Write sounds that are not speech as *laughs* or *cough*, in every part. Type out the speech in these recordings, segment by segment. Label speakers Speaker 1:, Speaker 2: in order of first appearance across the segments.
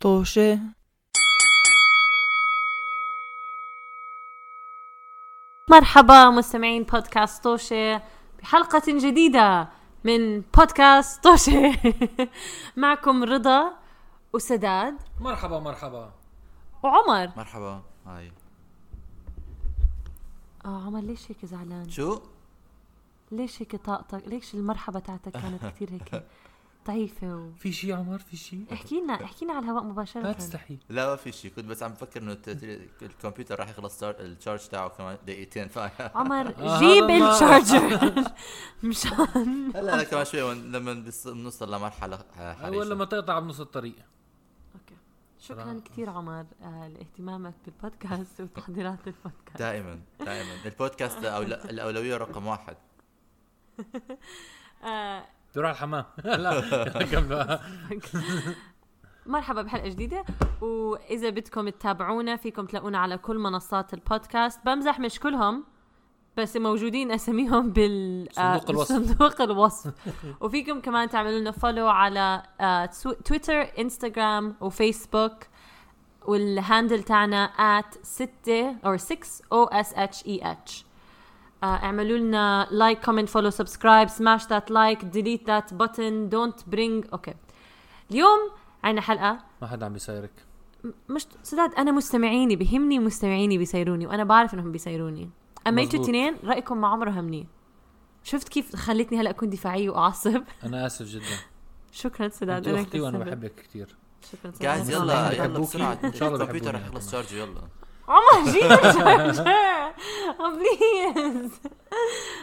Speaker 1: طوشة
Speaker 2: مرحبا مستمعين بودكاست طوشة بحلقة جديدة من بودكاست طوشة *laughs* معكم رضا وسداد
Speaker 3: مرحبا مرحبا
Speaker 2: وعمر
Speaker 4: مرحبا هاي
Speaker 2: اه عمر ليش هيك زعلان؟
Speaker 4: شو؟
Speaker 2: ليش هيك طاقتك؟ ليش المرحبة تاعتك
Speaker 4: *laughs*
Speaker 2: كانت كثير هيك ضعيفة و...
Speaker 3: في شي عمر في شي
Speaker 2: احكي لنا احكي لنا على الهواء
Speaker 3: لا
Speaker 2: مباشرة
Speaker 3: تستحي
Speaker 4: لا ما في شيء كنت بس عم بفكر انه الت- الت- الكمبيوتر راح يخلص تار- التشارج تاعه كمان دقيقتين ف
Speaker 2: عمر
Speaker 3: آه،
Speaker 2: جيب
Speaker 3: هذا ما-
Speaker 2: الشارجر *laughs* مشان
Speaker 4: هلا انا كمان شوي ون- لما بس- بنوصل لمرحله ح- حرجة
Speaker 3: اول لما أه، تقطع بنص الطريق
Speaker 2: اوكي شكرا كثير عمر آه، لاهتمامك بالبودكاست *laughs* وتحضيرات البودكاست
Speaker 4: دائما دائما البودكاست أول... الاولويه رقم واحد
Speaker 2: آه،
Speaker 3: تروح على الحمام *laughs* لا *laughs* يلا كمل.
Speaker 2: مرحبا بحلقه جديده واذا بدكم تتابعونا فيكم تلاقونا على كل منصات البودكاست بمزح مش كلهم بس موجودين اساميهم بال آه،
Speaker 3: صندوق الوصف.
Speaker 2: صندوق الوصف وفيكم كمان تعملوا لنا فولو على آه، تسو- تويتر انستغرام وفيسبوك والهاندل تاعنا at 6 or 6 o s h e h آه، اعملوا لنا لايك كومنت فولو سبسكرايب سماش ذات لايك ديليت ذات بutton دونت برينج اوكي اليوم عنا حلقه
Speaker 3: ما حدا عم بيسايرك
Speaker 2: مش سداد انا مستمعيني بهمني مستمعيني بيسيروني وانا بعرف انهم بيسيروني اما انتوا
Speaker 3: مظبوط.
Speaker 2: الاثنين رايكم ما عمره همني شفت كيف خلتني هلا اكون دفاعيه *laughs* واعصب
Speaker 3: انا اسف جدا
Speaker 2: شكرا سداد
Speaker 3: انت
Speaker 2: أنا
Speaker 3: اختي وانا
Speaker 2: كنت سبب.
Speaker 3: بحبك كثير
Speaker 2: شكرا سداد.
Speaker 4: جاهز
Speaker 2: أنا كمان.
Speaker 4: يلا يلا
Speaker 3: بحبوكي.
Speaker 4: بسرعه
Speaker 3: إن شاء الله
Speaker 4: الكمبيوتر
Speaker 3: بحبوني
Speaker 4: راح يخلص
Speaker 3: كمان.
Speaker 4: تشارجه يلا
Speaker 2: عمر *laughs* جيب الشارجر *laughs* بليز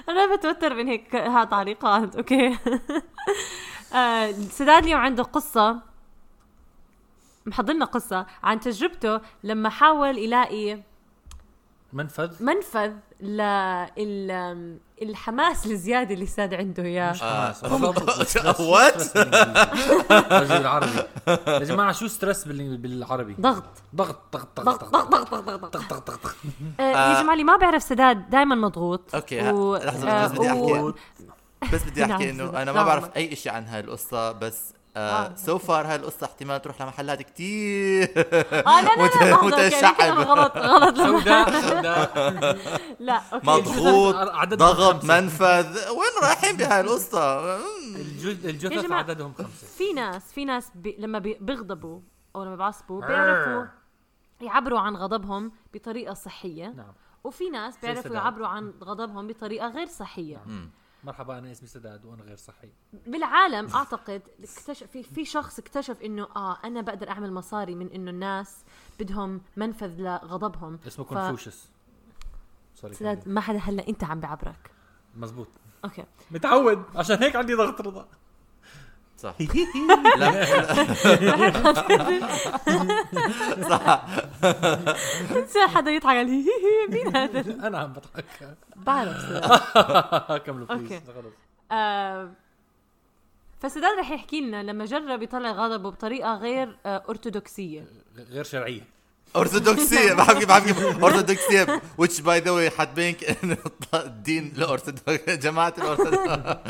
Speaker 2: انا بتوتر من هيك ها تعليقات اوكي *laughs* آه، سداد اليوم عنده قصه محضر لنا قصه عن تجربته لما حاول يلاقي
Speaker 3: منفذ
Speaker 2: منفذ للحماس الزياده اللي ساد عنده اياه
Speaker 3: مش حماس.
Speaker 4: آه.
Speaker 3: بالضبط. بس- بس-
Speaker 4: What؟
Speaker 3: بس- بالإنجليزي. رجل العربي يا جماعه شو ستريس بال- بالعربي
Speaker 2: ضغط
Speaker 3: ضغط ضغط
Speaker 2: ضغط
Speaker 3: ضغط
Speaker 2: ضغط ضغط ضغط ضغط
Speaker 3: ضغط ضغط ضغط
Speaker 2: آه، يا جماعه اللي ما بيعرف سداد دائما مضغوط آه،
Speaker 4: اوكي ه- لحظه بس بدي احكي بس بدي
Speaker 2: نعم،
Speaker 4: احكي انه انا
Speaker 2: نعم.
Speaker 4: ما بعرف اي شيء عن هاي القصه بس
Speaker 2: آه.
Speaker 4: سو فار هاي القصه احتمال تروح لمحلات *laughs* كثير
Speaker 2: اه لا لا
Speaker 4: مت-
Speaker 2: لا لحظة، أوكي، أنا
Speaker 4: متشعب.
Speaker 2: كده غلط غلط
Speaker 4: *laughs*
Speaker 2: لما-
Speaker 3: سوداء سوداء
Speaker 2: لا اوكي
Speaker 4: مضغوط
Speaker 3: عددهم
Speaker 4: ضغط
Speaker 3: خمسة.
Speaker 4: منفذ وين رايحين بهاي القصه مم.
Speaker 3: الجث-
Speaker 2: يا
Speaker 3: الجثث
Speaker 2: جماعة.
Speaker 3: عددهم خمسه
Speaker 2: في ناس في ناس بي لما بي- بيغضبوا او لما
Speaker 3: آه.
Speaker 2: بيعصبوا بيعرفوا يعبروا عن غضبهم بطريقه صحيه
Speaker 3: نعم
Speaker 2: وفي ناس بيعرفوا
Speaker 3: سداد.
Speaker 2: يعبروا عن غضبهم بطريقه غير صحيه
Speaker 3: مرحبا انا اسمي سداد وانا غير صحي
Speaker 2: بالعالم اعتقد اكتشف في في شخص اكتشف انه اه انا بقدر اعمل مصاري من انه الناس بدهم منفذ لغضبهم
Speaker 3: اسمه
Speaker 2: ف-
Speaker 3: كونفوشيوس سوري
Speaker 2: سداد ما حدا هلا انت عم بعبرك
Speaker 3: مزبوط
Speaker 2: *laughs* اوكي
Speaker 3: متعود عشان هيك عندي ضغط رضا *laughs*
Speaker 4: صح لا صح
Speaker 2: صار حدا يضحك على الهي هي هي، *laughs* مين هذا
Speaker 3: انا عم بضحك
Speaker 2: بعرف
Speaker 4: *laughs*
Speaker 2: سداد
Speaker 4: آه،
Speaker 3: كملوا
Speaker 2: أوكي.
Speaker 3: بليز خلص
Speaker 2: آه فسداد رح يحكي لنا لما جرب يطلع غضبه بطريقه غير آه
Speaker 4: *laughs*
Speaker 2: ارثوذكسيه
Speaker 3: غ- غير شرعيه
Speaker 4: ارثوذكسيه بحكي بحكي ارثوذكسيه which by the way حتبينك انه *laughs* الدين الارثوذكس جماعه
Speaker 2: *laughs*
Speaker 4: الارثوذكس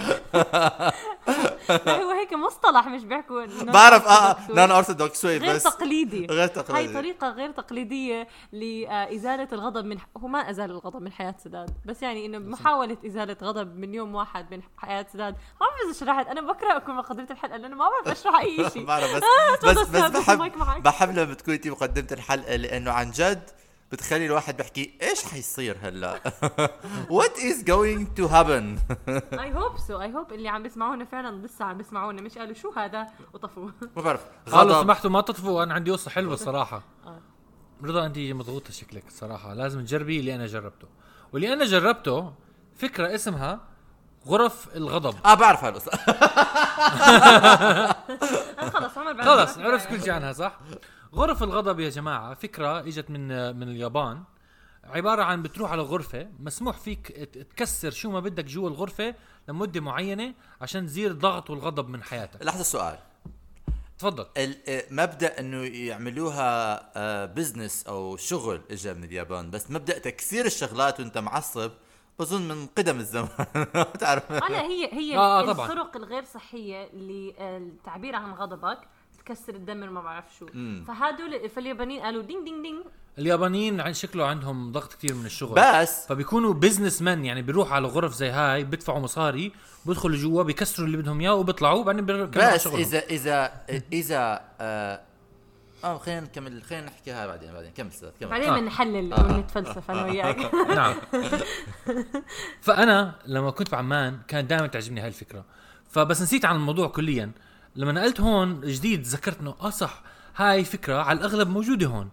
Speaker 2: لا، هو هيك مصطلح مش بيحكوا إنه
Speaker 4: بعرف اه
Speaker 2: Orthodox.
Speaker 4: نون ارثوذكس شوي
Speaker 2: نعم. غير
Speaker 4: بس
Speaker 2: تقليدي
Speaker 4: غير تقليدي.
Speaker 2: هاي
Speaker 4: *laughs*
Speaker 2: طريقة غير تقليدية لإزالة الغضب من ح... هو ما أزال الغضب من حياة سداد بس يعني إنه محاولة إزالة غضب من يوم واحد من حياة سداد ما بعرف إذا شرحت أنا بكره أكون مقدمة الحلقة لأنه ما بعرف أشرح *laughs* أي شيء
Speaker 4: بعرف بس
Speaker 2: تفضل
Speaker 4: بس بس
Speaker 2: أستاذ، المايك معك.
Speaker 4: بحب بحب لما بتكون انت مقدمه الحلقه لانه عن جد بتخلي الواحد بحكي ايش حيصير *laughs* هلا وات از جوينج تو هابن
Speaker 2: I hope so I hope اللي عم بيسمعونا فعلا لسه عم بيسمعونا مش قالوا شو هذا وطفوا
Speaker 4: *laughs*
Speaker 2: *laughs*
Speaker 4: ما بعرف
Speaker 3: قالوا
Speaker 4: غضب
Speaker 3: سمحتوا ما تطفوا انا عندي قصه
Speaker 4: آه.
Speaker 3: حلوه صراحه رضا انت مضغوطه شكلك صراحه لازم تجربي اللي انا جربته واللي انا جربته فكره اسمها غرف الغضب
Speaker 4: اه بعرف هالقصه *laughs*
Speaker 2: أنا خلص عمر بعد
Speaker 3: خلص عرفت كل شيء عنها صح؟ غرف الغضب يا جماعة فكرة اجت من من اليابان عبارة عن بتروح على غرفة مسموح فيك ت- تكسر شو ما بدك جوا الغرفة لمدة معينة عشان تزيل ضغط والغضب من حياتك
Speaker 4: لحظه سؤال
Speaker 3: تفضل
Speaker 4: ال- آه، مبدا انه يعملوها بزنس او شغل اجى من اليابان بس مبدا تكسير الشغلات وانت معصب بظن من قدم الزمان *laughs* بتعرف
Speaker 2: انا هي هي
Speaker 3: آه،
Speaker 2: آه
Speaker 3: آه، طبعاً.
Speaker 2: الطرق الغير صحيه للتعبير عن غضبك تكسر تدمر ما بعرف شو
Speaker 4: مم.
Speaker 2: فهدول فاليابانيين قالوا دين دين دين
Speaker 3: اليابانيين عن شكله عندهم ضغط كتير من الشغل
Speaker 4: بس
Speaker 3: فبيكونوا بزنس مان يعني بيروحوا على غرف زي هاي بيدفعوا مصاري بيدخلوا جوا بيكسروا اللي بدهم اياه وبيطلعوا بعدين بيرجعوا على
Speaker 4: بس
Speaker 3: شغلهم
Speaker 4: اذا اذا اذا اه, آه خلينا نكمل خلينا نحكيها بعدين بعدين كمل سداد كمل
Speaker 2: بعدين بنحلل ونتفلسف انا *laughs* وياك
Speaker 3: *laughs* نعم فانا لما كنت بعمان كان دائما تعجبني هاي الفكره فبس نسيت عن الموضوع كليا لما نقلت هون جديد تذكرت انه اه صح هاي فكره على الاغلب موجوده هون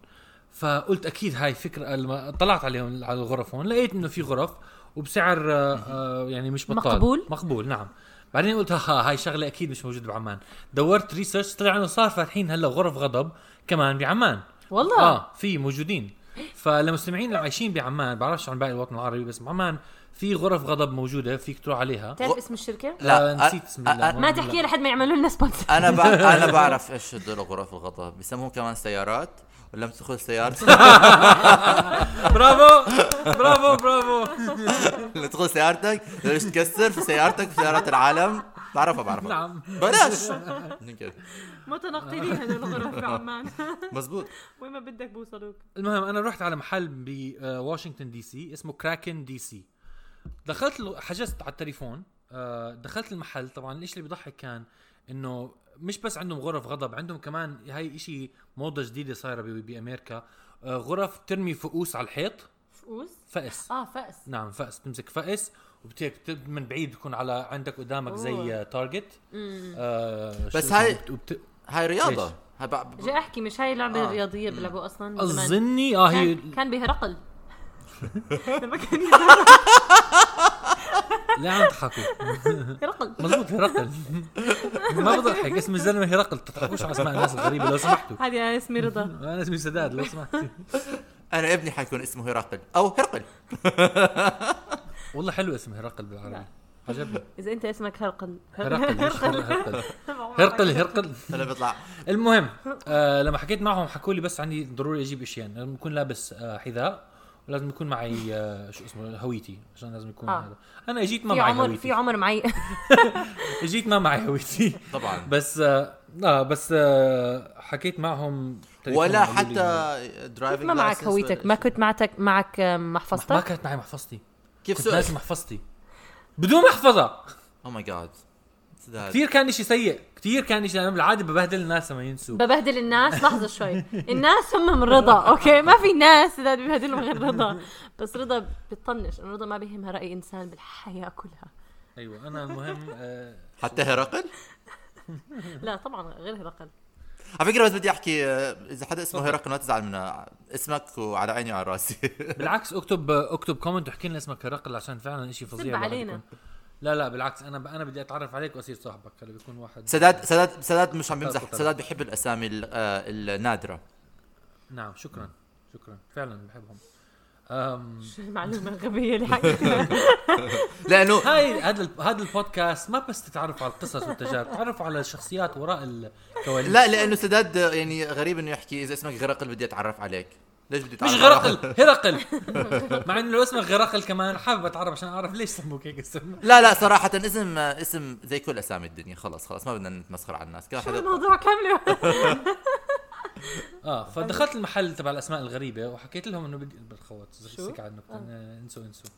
Speaker 3: فقلت اكيد هاي فكره لما طلعت عليهم على الغرف هون لقيت انه في غرف وبسعر آه، آه، يعني مش بطال
Speaker 2: مقبول؟
Speaker 3: مقبول نعم بعدين قلت ها هاي شغله اكيد مش موجوده بعمان دورت ريسيرش طلع انه صار فاتحين هلا غرف غضب كمان بعمان
Speaker 2: والله
Speaker 3: اه في موجودين فلمستمعين اللي عايشين بعمان بعرفش عن باقي الوطن العربي بس بعمان في غرف غضب موجوده فيك تروح
Speaker 2: *laughs*
Speaker 3: عليها
Speaker 2: تعرف اسم الشركه؟
Speaker 3: آه،
Speaker 4: لا
Speaker 3: نسيت اسم
Speaker 4: آه،
Speaker 3: الله.
Speaker 4: آه،
Speaker 2: ما تحكي لحد ما يعملوا لنا سبونسر
Speaker 4: انا بع...
Speaker 3: *laughs*
Speaker 4: انا بعرف ايش هدول غرف الغضب بيسموهم كمان سيارات ولما تدخل سيارتك
Speaker 3: *laughs* برافو برافو برافو
Speaker 4: لما تدخل سيارتك ليش تكسر في سيارتك في سيارات العالم بعرفها بعرفها
Speaker 3: نعم. *laughs*
Speaker 4: بلاش هيك.
Speaker 2: *laughs* متنقلين هذول الغرف بعمان
Speaker 4: مزبوط
Speaker 2: *laughs* وين ما بدك بوصلوك
Speaker 3: المهم انا رحت على محل آه، بواشنطن دي سي اسمه كراكن دي سي دخلت له- حجزت على التليفون آه، دخلت المحل طبعا الشيء اللي بضحك كان انه مش بس عندهم غرف غضب عندهم كمان هاي إشي موضه جديده صايره ب- بامريكا آه، غرف ترمي فؤوس على الحيط
Speaker 2: فؤوس
Speaker 3: فأس
Speaker 2: اه فأس
Speaker 3: نعم فأس تمسك فأس وبتك من بعيد بكون على عندك قدامك
Speaker 2: أوه.
Speaker 3: زي تارجت آه
Speaker 4: بس
Speaker 3: شو
Speaker 4: هاي-
Speaker 3: اسمه؟ وبت-
Speaker 4: هاي رياضه هاي بع- ب-
Speaker 2: جاي احكي مش هاي اللعبه
Speaker 4: آه.
Speaker 2: الرياضيه بيلعبوها اصلا من زمان.
Speaker 3: اظني اه هي
Speaker 2: كان, كان بهرقل *laughs* لما كان
Speaker 3: لا عم تضحكوا
Speaker 2: هرقل
Speaker 3: مضبوط هرقل *laughs* ما بضحك اسم الزلمه هرقل تضحكوش على اسماء الناس الغريبه لو سمحتوا
Speaker 2: هذه اسمي رضا
Speaker 3: انا اسمي سداد لو سمحت
Speaker 4: انا ابني حيكون اسمه هرقل او هرقل
Speaker 3: والله حلو اسم هرقل بالعربي
Speaker 2: لا.
Speaker 3: عجبني
Speaker 2: اذا انت اسمك *laughs* هرقل
Speaker 3: هرقل مش هرقل هرقل هرقل
Speaker 4: هلا بيطلع
Speaker 3: المهم آه لما حكيت معهم حكوا لي بس عندي ضروري اجيب اشيين لازم اكون لابس آه حذاء ولازم يكون معي آه شو اسمه هويتي عشان لازم يكون
Speaker 2: آه.
Speaker 3: هذا انا اجيت ما
Speaker 2: في
Speaker 3: معي
Speaker 2: عمر في
Speaker 3: هويتي
Speaker 2: عمر معي *laughs*
Speaker 3: اجيت ما معي هويتي *laughs*
Speaker 4: طبعا
Speaker 3: بس آه لا بس آه حكيت معهم تليفون
Speaker 4: ولا
Speaker 3: قالوا لي إنه-
Speaker 4: حتى درايفنج
Speaker 2: ما معك هويتك ما كنت معتك معك آه،
Speaker 3: ما
Speaker 2: محفظتك
Speaker 3: كانت معي محفظتي
Speaker 4: كيف
Speaker 3: كنت
Speaker 4: سؤال Oh
Speaker 3: ناسي محفظتي بدون محفظه
Speaker 4: او ماي جاد سداد
Speaker 3: كثير كان شيء سيء كثير كان شيء انا بالعاده ببهدل الناس لما ينسوا
Speaker 2: ببهدل الناس لحظة شوي الناس هم من رضا اوكي ما في ناس اذا بيبهدلهم غير رضا بس رضا بتطنش إنه رضا ما بيهمها رأي انسان بالحياة كلها
Speaker 3: ايوه انا المهم آه
Speaker 4: حتى هرقل
Speaker 2: لا طبعا غير هرقل
Speaker 4: على فكره بس بدي احكي آه، اذا حدا اسمه هرقل ما تزعل من اسمك وعلى عيني وعلى راسي *laughs*
Speaker 3: بالعكس اكتب آه، اكتب كومنت واحكي لنا اسمك هرقل عشان فعلا شيء فظيع
Speaker 2: سب
Speaker 3: الواحد
Speaker 2: علينا
Speaker 3: يكون- لا لا بالعكس انا ب... انا بدي اتعرف عليك واصير صاحبك هلا بيكون واحد
Speaker 4: سداد سداد سداد مش عم
Speaker 3: طب-
Speaker 4: بمزح
Speaker 3: طب.
Speaker 4: سداد بحب الاسامي ال- آه، النادره
Speaker 3: نعم شكرا شكرا فعلا بحبهم أم...
Speaker 2: شو المعلومة الغبية اللي حكيتها
Speaker 4: لانه
Speaker 3: هاي هذا ال... هذا البودكاست ما بس تتعرف على القصص والتجارب تعرف على الشخصيات وراء الكواليس
Speaker 4: لا لانه سداد آه، يعني غريب انه يحكي اذا اسمك غرقل بدي اتعرف عليك ليش بدي
Speaker 3: مش
Speaker 4: اتعرف على واحد؟
Speaker 3: غرقل هرقل مع انه لو اسمك غرقل كمان حابب اتعرف عشان اعرف ليش سموك هيك اسم
Speaker 4: لا لا صراحة اسم اسم زي كل اسامي الدنيا خلص خلص ما بدنا نتمسخر على الناس كان
Speaker 2: شو
Speaker 4: حدا
Speaker 2: الموضوع كامله
Speaker 3: اه فدخلت المحل تبع الاسماء الغريبه وحكيت لهم انه بدي بالخوت
Speaker 2: شو؟
Speaker 3: سكة على النكته آه، انسوا انسوا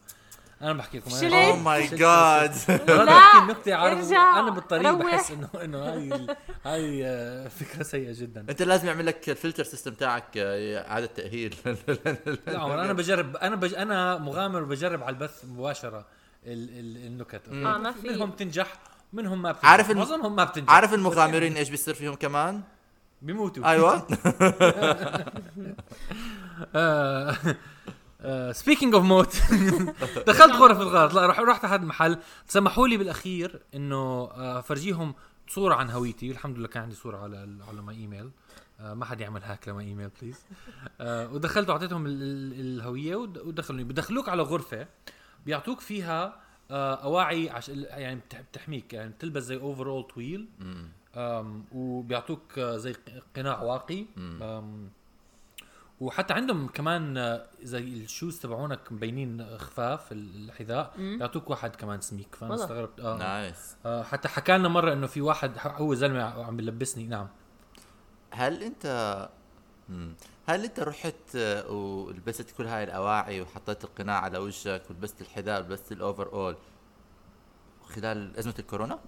Speaker 3: انا بحكي لكم
Speaker 2: شو
Speaker 4: اوه
Speaker 2: ليه؟
Speaker 4: ماي جاد *laughs*
Speaker 3: هذا
Speaker 2: لا،
Speaker 3: احكي النكتة عارف
Speaker 2: ارجع،
Speaker 3: انا بالطريق
Speaker 2: روح.
Speaker 3: بحس انه انه هاي ال- هاي آه، فكرة سيئة
Speaker 4: *laughs*
Speaker 3: جدا
Speaker 4: انت لازم يعمل لك الفلتر سيستم تاعك آه، اعادة تأهيل *laughs*
Speaker 3: لا عمر انا بجرب انا بج... انا مغامر وبجرب على البث مباشرة ال... ال...
Speaker 2: *laughs*
Speaker 3: النكت
Speaker 2: آه، ما في.
Speaker 3: منهم بتنجح منهم ما بتنجح
Speaker 4: عارف الم-
Speaker 3: معظمهم ما بتنجح
Speaker 4: عارف المغامرين ايش بيصير فيهم
Speaker 2: *laughs*
Speaker 4: كمان؟
Speaker 3: بيموتوا
Speaker 4: ايوه
Speaker 3: آه، سبيكينج اوف آه، موت *laughs* دخلت غرف الغلط لا رح- رحت على هذا المحل سمحوا لي بالاخير انه آه، افرجيهم صوره عن هويتي الحمد لله كان عندي صوره على ال- على ما ايميل آه، ما حد يعمل هاك لما ايميل بليز آه، ودخلت واعطيتهم ال- ال- الهويه ود- ودخلوني بدخلوك على غرفه بيعطوك فيها آه، اواعي عش... يعني بتح- بتحميك يعني بتلبس زي اوفر اول طويل أم، وبيعطوك آه، زي ق- قناع واقي أم، وحتى عندهم كمان آه، زي الشوز تبعونك مبينين خفاف ال- الحذاء بيعطوك واحد كمان سميك فانا
Speaker 2: والله.
Speaker 3: استغربت آه.
Speaker 4: نايس
Speaker 3: آه حتى حكى لنا مره انه في واحد ح- هو زلمه ع- عم بلبسني نعم
Speaker 4: هل انت مم. هل انت رحت آه، ولبست كل هاي الاواعي وحطيت القناع على وجهك ولبست الحذاء ولبست الاوفر اول خلال ازمه الكورونا؟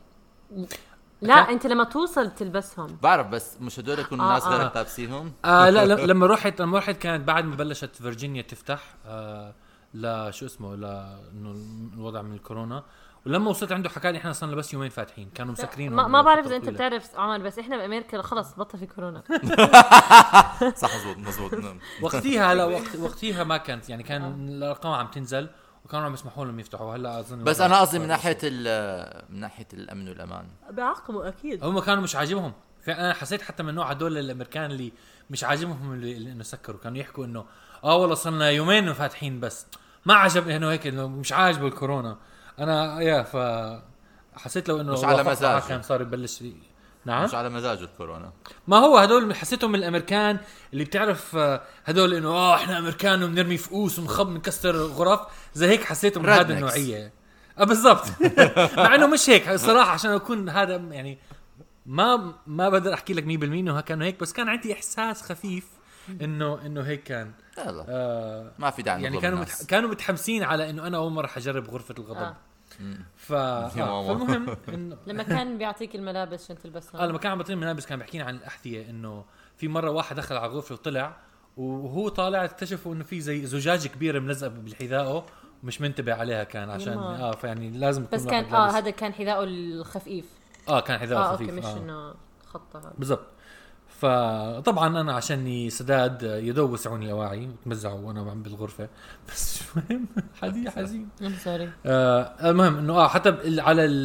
Speaker 2: لا انت لما توصل بتلبسهم
Speaker 4: بعرف بس مش هدول يكونوا
Speaker 2: آه،
Speaker 4: الناس
Speaker 2: آه. *laughs*
Speaker 4: غيرك لابسينهم
Speaker 3: *laughs* آه لا لم- لما رحت لما رحت كانت بعد ما بلشت فيرجينيا تفتح آه لا شو اسمه لا انه الوضع من الكورونا ولما وصلت عنده حكى لي احنا صرنا بس يومين فاتحين كانوا مسكرين
Speaker 2: ما, ما بعرف اذا انت
Speaker 3: طويلة.
Speaker 2: بتعرف عمر بس احنا بامريكا خلص بطل في كورونا
Speaker 4: صح مزبوط مزبوط نعم.
Speaker 3: وقتيها
Speaker 4: *laughs*
Speaker 3: لا
Speaker 2: *laughs*
Speaker 3: وقت وقتيها ما كانت يعني
Speaker 2: آه.
Speaker 3: كان الارقام عم تنزل وكانوا عم يسمحوا لهم يفتحوا هلا اظن
Speaker 4: بس
Speaker 3: الوضع-
Speaker 4: انا قصدي من ناحيه ال- من ناحيه الامن والامان
Speaker 2: بعقمه اكيد
Speaker 3: هم كانوا مش عاجبهم في- انا حسيت حتى من نوع هدول الامريكان اللي مش عاجبهم اللي اللي انه سكروا كانوا يحكوا انه اه والله صرنا يومين فاتحين بس ما عجب انه هيك انه مش عاجبه الكورونا انا يا ف حسيت لو انه
Speaker 4: مش على
Speaker 3: وافق معاه
Speaker 4: مزاجه.
Speaker 3: كان صار يبلش ي- نعم
Speaker 4: مش على مزاجه الكورونا
Speaker 3: ما هو هدول حسيتهم الامريكان اللي بتعرف آه، هدول انه اه احنا امريكان وبنرمي فؤوس ونخب بنكسر غرف زي هيك حسيتهم من
Speaker 4: Rednecks.
Speaker 3: هذا النوعيه اه بالضبط *laughs* مع انه مش هيك صراحه عشان اكون هذا يعني ما ما بقدر احكي لك 100% انه كانوا هيك بس كان عندي احساس خفيف انه انه هيك كان
Speaker 4: يلا
Speaker 3: آه
Speaker 4: ما في داعي
Speaker 3: يعني كانوا متح... كانوا متحمسين على انه انا اول مره حجرب غرفه الغضب
Speaker 2: آه.
Speaker 3: ف... آه.
Speaker 4: يا ماما.
Speaker 3: فالمهم انه
Speaker 2: لما كان بيعطيك الملابس عشان
Speaker 3: اه
Speaker 2: تلبسها
Speaker 3: لما كان عم بطير الملابس كان بيحكينا عن الاحذيه انه في مره واحد دخل على غرفه وطلع وهو طالع اكتشفوا انه في زي زجاجه كبيره ملزقه بحذائه ومش منتبه عليها كان عشان
Speaker 2: يما.
Speaker 3: اه فيعني لازم يكون
Speaker 2: بس كان
Speaker 3: الواحد
Speaker 2: اه
Speaker 3: لابس-
Speaker 2: هذا كان حذائه الخفيف
Speaker 3: اه كان حذاء
Speaker 2: اه
Speaker 3: آه
Speaker 2: اوكي
Speaker 3: خفيف
Speaker 2: مش
Speaker 3: آه.
Speaker 2: انه خطه هذا
Speaker 3: بالضبط فطبعا انا عشاني سداد يدوب وسعوني اواعي وتمزعوا وانا عم بالغرفه *laughs* بس شو المهم حديث حزين
Speaker 2: I'm sorry.
Speaker 3: آه المهم انه اه حتى بال- على ال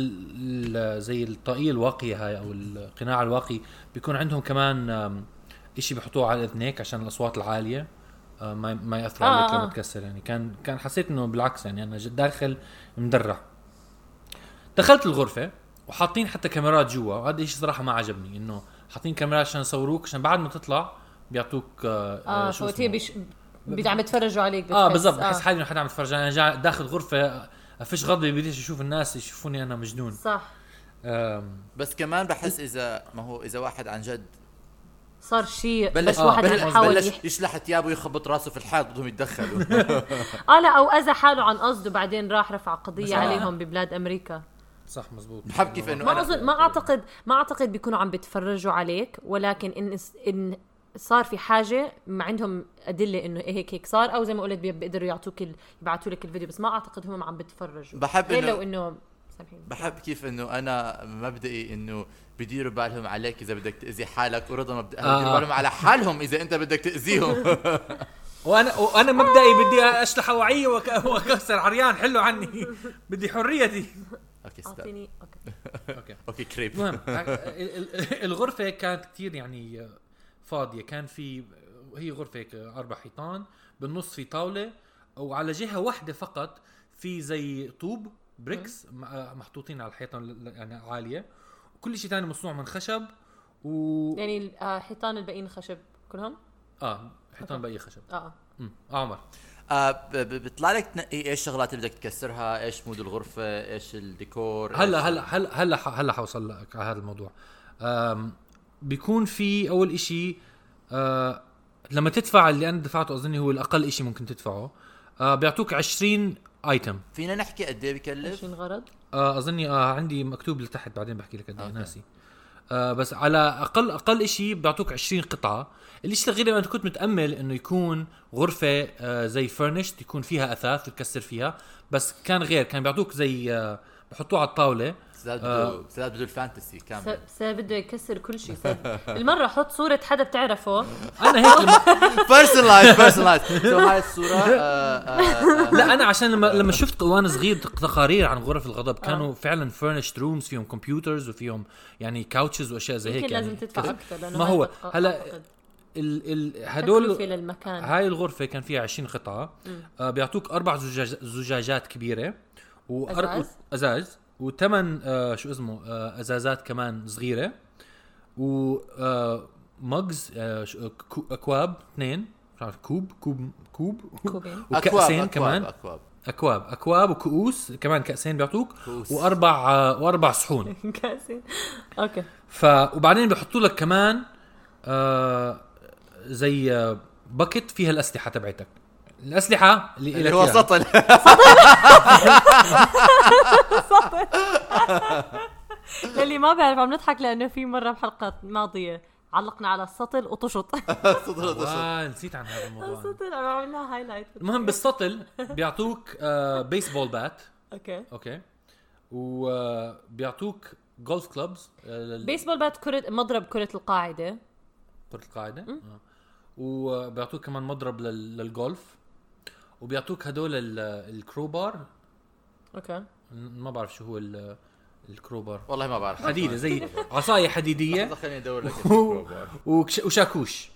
Speaker 3: ال زي الطاقيه الواقيه هاي او القناع الواقي بيكون عندهم كمان آم، اشي بحطوه على اذنيك عشان الاصوات العاليه آه ما ما ياثر
Speaker 2: آه،
Speaker 3: عليك
Speaker 2: آه.
Speaker 3: لما تكسر يعني كان كان حسيت انه بالعكس يعني انا ج- داخل مدرع دخلت الغرفه وحاطين حتى كاميرات جوا وهذا الشيء صراحه ما عجبني انه حاطين كاميرات عشان يصوروك عشان بعد ما تطلع بيعطوك آه
Speaker 2: اه
Speaker 3: شو
Speaker 2: فوتيه
Speaker 3: اسمه؟
Speaker 2: بيش بيد- عم يتفرجوا عليك
Speaker 3: اه
Speaker 4: آه،
Speaker 2: بتحس. آه.
Speaker 3: بالضبط بحس حالي انه حدا عم يتفرج انا جا داخل غرفه افش غضبي بديش اشوف الناس يشوفوني انا مجنون
Speaker 2: صح
Speaker 3: آم،
Speaker 4: بس كمان بحس اذا ما هو اذا واحد عن جد
Speaker 2: صار شيء
Speaker 4: بلش آه،
Speaker 2: بس واحد
Speaker 4: بلش,
Speaker 2: عم يحاول
Speaker 4: بلش
Speaker 2: يحكي
Speaker 4: يشلح ثيابه ويخبط راسه في الحائط بدهم *laughs* يتدخلوا
Speaker 2: اه لا او اذى حاله عن قصده بعدين راح رفع قضيه
Speaker 3: آه.
Speaker 2: عليهم ببلاد امريكا
Speaker 3: صح مزبوط
Speaker 4: بحب كيف انه
Speaker 2: ما
Speaker 4: انا
Speaker 2: اظن ما اعتقد ما اعتقد بيكونوا عم بيتفرجوا عليك ولكن ان ان صار في حاجه ما عندهم ادله انه إيه هيك هيك صار او زي ما قلت بي- بيقدروا يعطوك ال... يبعثوا لك الفيديو بس ما اعتقد هم عم بيتفرجوا
Speaker 4: بحب
Speaker 2: غير
Speaker 4: إنه-
Speaker 2: لو انه سامحين
Speaker 4: بحب كيف انه انا مبدئي انه بديروا بالهم عليك اذا بدك تاذي حالك ورضا مبدئها
Speaker 3: آه.
Speaker 4: بديروا بالهم على حالهم اذا انت بدك *laughs* تاذيهم
Speaker 3: وانا وانا مبدئي بدي اشلح اوعيه وك- *laughs* واكسر عريان حلوا عني *laughs* بدي حريتي
Speaker 4: اوكي استنى.
Speaker 2: اعطيني اوكي
Speaker 3: اوكي
Speaker 4: اوكي كريب
Speaker 3: المهم آه، ال- ال- الغرفه كانت كثير يعني فاضيه كان في هي غرفه هيك اربع حيطان بالنص في طاوله وعلى جهه واحده فقط في زي طوب بريكس م- آه، محطوطين على الحيطان ل- يعني عاليه وكل شيء ثاني مصنوع من خشب و
Speaker 2: يعني ال- آه، حيطان الباقيين خشب كلهم
Speaker 3: اه حيطان باقي خشب
Speaker 2: اه
Speaker 3: امم آه، عمر
Speaker 4: آه ب- ب- بيطلع لك تنقي ايش الشغلات اللي بدك تكسرها ايش مود الغرفه ايش الديكور
Speaker 3: هلا هلا هلا هلا ح- هلا حوصل لك على هذا الموضوع أم، بيكون في اول إشي أه، لما تدفع اللي انا دفعته اظني هو الاقل إشي ممكن تدفعه أه، بيعطوك 20 ايتم
Speaker 4: فينا نحكي قد ايه بكلف
Speaker 2: ايش الغرض؟
Speaker 3: أه، اظني أه، عندي مكتوب لتحت بعدين بحكي لك قد ايه
Speaker 4: أوكي.
Speaker 3: ناسي أه، بس على اقل اقل إشي بيعطوك 20 قطعه الإشي الغريب انا كنت متامل انه يكون غرفه أه، زي فرنشت يكون فيها اثاث تكسر فيها بس كان غير كان بيعطوك زي أه، بحطوه على الطاوله
Speaker 4: سداد
Speaker 3: آه.
Speaker 4: بده سداد بده الفانتسي *laughs* كامل
Speaker 2: س- سا بده يكسر كل شيء سا-
Speaker 3: *laughs*
Speaker 2: المره حط صوره حدا بتعرفه
Speaker 3: انا هيك لما
Speaker 4: بيرسونلايز بيرسونلايز سو هاي الصوره آه، آه، آه.
Speaker 3: لا انا عشان لما لما شفت وانا صغير تقارير عن غرف
Speaker 2: آه.
Speaker 3: الغضب كانوا فعلا فيرنشد رومز فيهم كمبيوترز وفيهم يعني كاوتشز واشياء زي هيك
Speaker 2: يمكن
Speaker 3: يعني
Speaker 2: لازم
Speaker 3: *laughs*
Speaker 2: تدفع اكثر لانه
Speaker 3: ما هو
Speaker 2: يبقى-
Speaker 3: هلا
Speaker 2: أعتقد.
Speaker 3: ال ال
Speaker 2: تكلفة
Speaker 3: هدول
Speaker 2: للمكان
Speaker 3: هاي الغرفه كان فيها 20 قطعه آه بيعطوك اربع زجاج زجاجات كبيره وأر-
Speaker 2: أزاز؟
Speaker 3: ازاز وثمان آه شو اسمه آه ازازات كمان صغيره و آه مجز آه شو- كو- اكواب اثنين مش عارف كوب كوب كوب
Speaker 2: كوبين. *laughs*
Speaker 3: وكاسين
Speaker 4: أكواب،
Speaker 3: كمان
Speaker 4: اكواب
Speaker 3: اكواب اكواب وكؤوس كمان كاسين بيعطوك
Speaker 4: كؤوس.
Speaker 3: واربع آه، واربع صحون
Speaker 2: كاسين اوكي
Speaker 3: ف وبعدين بيحطوا لك كمان آه زي آه، باكت فيها الاسلحه تبعتك الاسلحه اللي,
Speaker 4: اللي
Speaker 3: إلك
Speaker 4: هو
Speaker 3: إياها.
Speaker 4: سطل *laughs*
Speaker 3: *laughs*
Speaker 2: للي ما بيعرف عم نضحك لانه في مره بحلقه ماضيه علقنا على السطل
Speaker 3: *laughs*
Speaker 2: وطشط
Speaker 4: سطل سطل
Speaker 3: آه نسيت عن
Speaker 2: *laughs*
Speaker 3: هذا الموضوع أنا.
Speaker 2: السطل عم بعمل لها هايلايت
Speaker 3: المهم بالسطل بيعطوك آه بيسبول بات
Speaker 2: اوكي
Speaker 3: اوكي آه، وبيعطوك جولف كلوبز
Speaker 2: بيسبول بات كره مضرب كره القاعده
Speaker 3: كرة القاعدة آه. وبيعطوك كمان مضرب لل- للجولف وبيعطوك هدول ال- الكروبار
Speaker 2: اوكي
Speaker 3: ما بعرف شو هو ال- الكروبار
Speaker 4: والله ما بعرف
Speaker 3: *laughs* حديدة زي عصاية حديدية
Speaker 4: لحظة خليني ادور لك *laughs*
Speaker 3: وكش- وشاكوش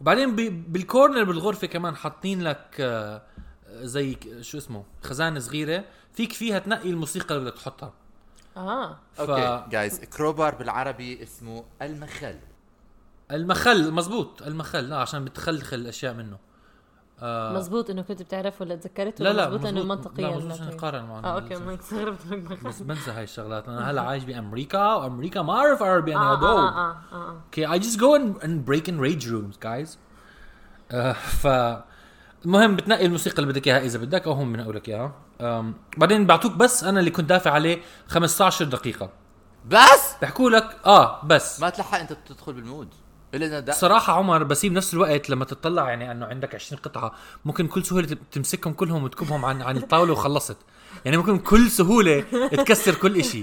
Speaker 3: وبعدين ب- بالكورنر بالغرفة كمان حاطين لك آه، زي ك- شو اسمه خزانة صغيرة فيك فيها تنقي الموسيقى اللي بدك تحطها
Speaker 2: اه
Speaker 4: اوكي جايز كروبار بالعربي اسمه المخل
Speaker 3: المخل مزبوط المخل آه عشان بتخلخل الاشياء منه
Speaker 2: مزبوط انه كنت بتعرفه ولا تذكرته
Speaker 3: آه. لا لا
Speaker 2: مزبوط انه
Speaker 3: مزبوط.
Speaker 2: منطقيا
Speaker 3: لا مزبوط
Speaker 2: لا
Speaker 3: عشان
Speaker 2: طيب.
Speaker 3: نقارن مع
Speaker 2: اه اوكي ما استغربت
Speaker 3: *laughs*
Speaker 2: منك
Speaker 3: بس بنسى هاي الشغلات انا هلا عايش بامريكا وامريكا ما اعرف عربي انا
Speaker 2: اه
Speaker 3: هدول
Speaker 2: اه اه اه
Speaker 3: اوكي اي جست جو اند بريك ان ريج رومز جايز *laughs* ف Uh, المهم بتنقي الموسيقى اللي بدك اياها اذا بدك او هم بنقوا لك اياها أم، بعدين بعطوك بس انا اللي كنت دافع عليه 15 دقيقه
Speaker 4: بس
Speaker 3: بحكوا لك اه بس
Speaker 4: ما تلحق انت تدخل بالمود الا اذا دا-
Speaker 3: صراحة عمر بس بنفس الوقت لما تطلع يعني انه عندك 20 قطعة ممكن كل سهولة تم- تمسكهم كلهم وتكبهم عن عن الطاولة وخلصت يعني ممكن بكل سهولة تكسر كل إشي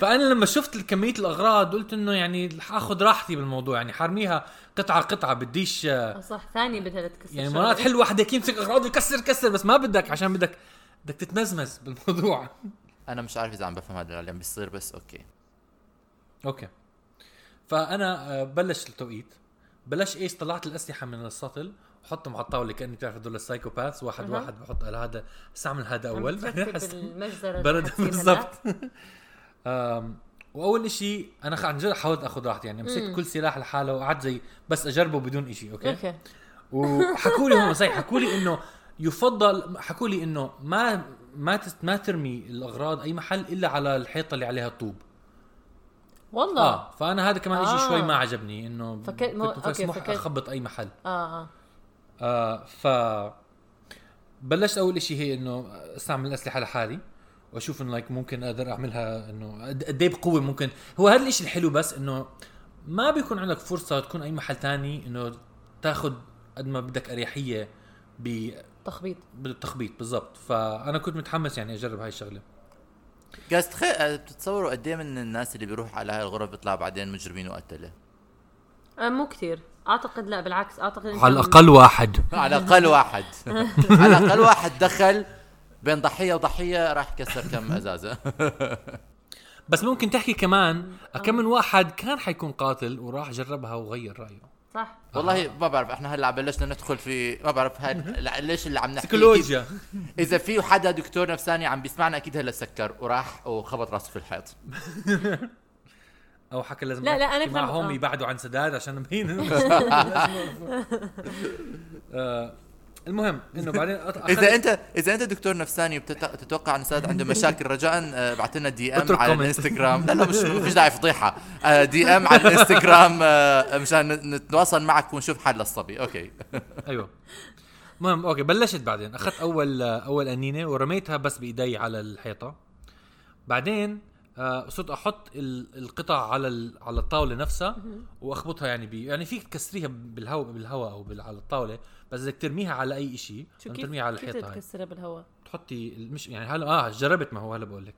Speaker 3: فأنا لما شفت كمية الأغراض قلت إنه يعني حاخذ راحتي بالموضوع يعني حرميها قطعة قطعة بديش آه،
Speaker 2: آه، صح ثاني بدها تكسر
Speaker 3: يعني
Speaker 2: شغلة.
Speaker 3: مرات حلو واحد هيك يمسك أغراض يكسر كسر بس ما بدك عشان بدك بدك تتمزمز بالموضوع *laughs*
Speaker 4: انا مش عارف اذا عم بفهم هذا اللي عم بيصير بس اوكي
Speaker 3: اوكي فانا آه، بلش التوقيت بلش ايش طلعت الاسلحه من السطل وحطهم على الطاوله كاني بتعرف هدول السايكوباث واحد
Speaker 2: أها.
Speaker 3: واحد بحط على هذا استعمل هذا
Speaker 2: عم
Speaker 3: اول بعدين *laughs*
Speaker 2: ترتب
Speaker 3: أحس-
Speaker 2: المجزرة اللي
Speaker 3: برد
Speaker 2: حتصير هلا.
Speaker 3: بالضبط *laughs* آم، واول إشي انا خ- عن جد حاولت اخذ راحتي يعني مسكت كل سلاح لحاله وقعدت زي بس اجربه بدون إشي اوكي
Speaker 2: اوكي
Speaker 3: وحكوا لي هم صحيح حكوا لي انه يفضل حكوا لي انه ما ما تس- ما ترمي الاغراض اي محل الا على الحيطه اللي عليها الطوب
Speaker 2: والله اه
Speaker 3: اه فانا هذا كمان آه.
Speaker 2: آه.
Speaker 3: شيء شوي ما عجبني انه
Speaker 2: فكرت- مو-
Speaker 3: كنت
Speaker 2: أوكي،
Speaker 3: مسموح
Speaker 2: فكرت-
Speaker 3: اخبط اي محل
Speaker 2: اه
Speaker 3: آه ف بلشت اول إشي هي انه استعمل الاسلحه لحالي واشوف انه like ممكن اقدر اعملها انه قد قد ايه بقوه ممكن هو هذا الإشي الحلو بس انه ما بيكون عندك فرصه تكون اي محل تاني انه تاخذ قد ما بدك اريحيه ب-
Speaker 2: تخبيط
Speaker 3: بالتخبيط بالضبط فانا كنت متحمس يعني اجرب هاي الشغله
Speaker 4: جايز تخيل بتتصوروا قد ايه من الناس اللي بيروح على هاي الغرف بيطلع بعدين مجرمين وقتله
Speaker 2: آه، مو كثير اعتقد لا بالعكس اعتقد إنت عم-
Speaker 3: واحد
Speaker 4: *laughs* على الاقل واحد على الاقل واحد دخل بين ضحيه وضحيه راح كسر كم ازازه
Speaker 3: بس ممكن تحكي كمان كم من واحد كان حيكون قاتل وراح جربها وغير رايه
Speaker 2: صح
Speaker 4: والله ما بعرف احنا هلا بلشنا ندخل في ما بعرف هاي ليش اللي عم نحكي
Speaker 3: سيكولوجيا
Speaker 4: اذا في حدا دكتور نفساني عم بيسمعنا اكيد هلا سكر وراح وخبط راسه في الحيط
Speaker 3: او حكى لازم
Speaker 2: لا، لا، أنا
Speaker 3: أحكي
Speaker 2: كمان-
Speaker 3: معهم
Speaker 2: آه.
Speaker 3: يبعدوا عن سداد عشان
Speaker 2: *laughs*
Speaker 3: مبين *laughs* آه، المهم انه بعدين أط-
Speaker 4: اذا انت اذا انت دكتور نفساني وبتتوقع ان سعد عنده مشاكل رجاء ابعث لنا دي ام
Speaker 3: اترك
Speaker 4: على
Speaker 3: comment. *laughs*
Speaker 4: الانستغرام لا لا مش مش داعي فضيحه دي ام على الانستغرام آه، مشان ن- نتواصل معك ونشوف حل الصبي اوكي
Speaker 3: ايوه المهم اوكي بلشت بعدين اخذت اول اول انينه ورميتها بس بايدي على الحيطه بعدين آه، صرت احط ال- القطع على ال- على الطاوله نفسها واخبطها يعني ب يعني فيك تكسريها بالهواء بالهواء او بال- على الطاوله بس بدك ترميها على اي شيء
Speaker 2: شو كيف
Speaker 3: ترميها على
Speaker 2: كيف
Speaker 3: الحيطه هاي
Speaker 2: تتكسرها بالهواء
Speaker 3: تحطي مش يعني هلا اه جربت ما هو هلا بقول لك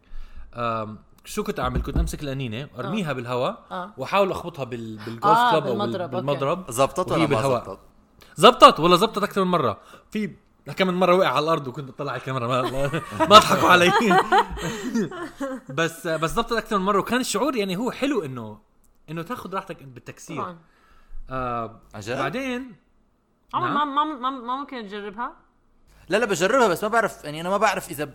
Speaker 3: آم، شو كنت اعمل كنت امسك الانينه وارميها آه. بالهواء
Speaker 2: آه.
Speaker 3: واحاول اخبطها بال بالجولف
Speaker 2: آه،
Speaker 3: كلاب او
Speaker 2: بالمضرب،
Speaker 3: بال-
Speaker 2: أوكي.
Speaker 3: بالمضرب وهي
Speaker 4: زبطت ولا ما
Speaker 3: بالهواء.
Speaker 4: زبطت؟
Speaker 3: زبطت والله زبطت اكثر من مره في كم من مره وقع على الارض وكنت اطلع على الكاميرا ما ما اضحكوا علي *laughs* بس بس زبطت اكثر من مره وكان الشعور يعني هو حلو انه انه تاخذ راحتك بالتكسير
Speaker 2: طبعا
Speaker 3: آه
Speaker 4: عن جد؟
Speaker 3: بعدين
Speaker 2: عمر
Speaker 3: نعم.
Speaker 2: ما ما ما ما ممكن تجربها
Speaker 4: لا لا بجربها بس ما بعرف يعني انا ما بعرف اذا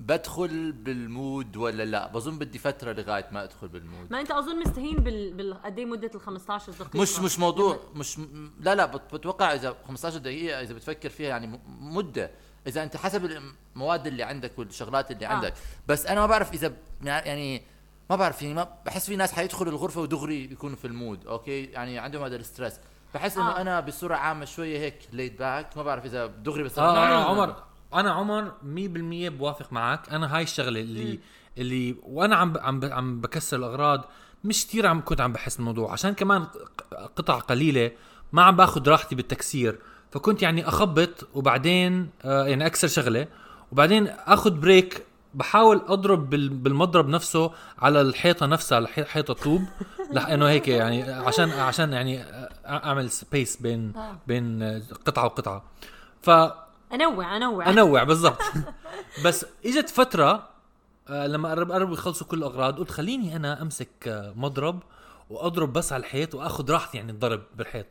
Speaker 4: بدخل بالمود ولا لا بظن بدي فتره لغايه ما ادخل بالمود
Speaker 2: ما انت اظن مستهين بال بال قد ايه مده ال 15 دقيقه
Speaker 4: مش مش موضوع مش م- لا لا بت- بتوقع اذا 15 دقيقه اذا بتفكر فيها يعني م- مده اذا انت حسب المواد اللي عندك والشغلات اللي
Speaker 2: آه.
Speaker 4: عندك بس انا ما بعرف اذا ب- يعني ما بعرف يعني ما بحس في ناس حيدخلوا الغرفه ودغري بيكونوا في المود اوكي يعني عندهم هذا الستريس بحس انه
Speaker 2: آه.
Speaker 4: آه. انا بصوره عامه شويه هيك ليد باك ما بعرف اذا دغري بس
Speaker 3: اه انا عمر انا عمر 100% بوافق معك انا هاي الشغله اللي اللي وانا عم ب- عم ب- عم بكسر الاغراض مش كثير عم كنت عم بحس الموضوع عشان كمان ق- قطع قليله ما عم باخذ راحتي بالتكسير فكنت يعني اخبط وبعدين آه يعني اكسر شغله وبعدين اخذ بريك بحاول اضرب بال- بالمضرب نفسه على الحيطه نفسها على حي- حيطه طوب *laughs* لانه هيك يعني عشان عشان يعني أ- اعمل سبيس بين
Speaker 2: آه.
Speaker 3: بين آه، قطعه وقطعه ف
Speaker 2: انوع انوع
Speaker 3: انوع بالضبط بس اجت فتره آه، لما قرب قربوا يخلصوا كل الاغراض قلت خليني انا امسك آه، مضرب واضرب بس على الحيط واخذ راحتي يعني الضرب بالحيط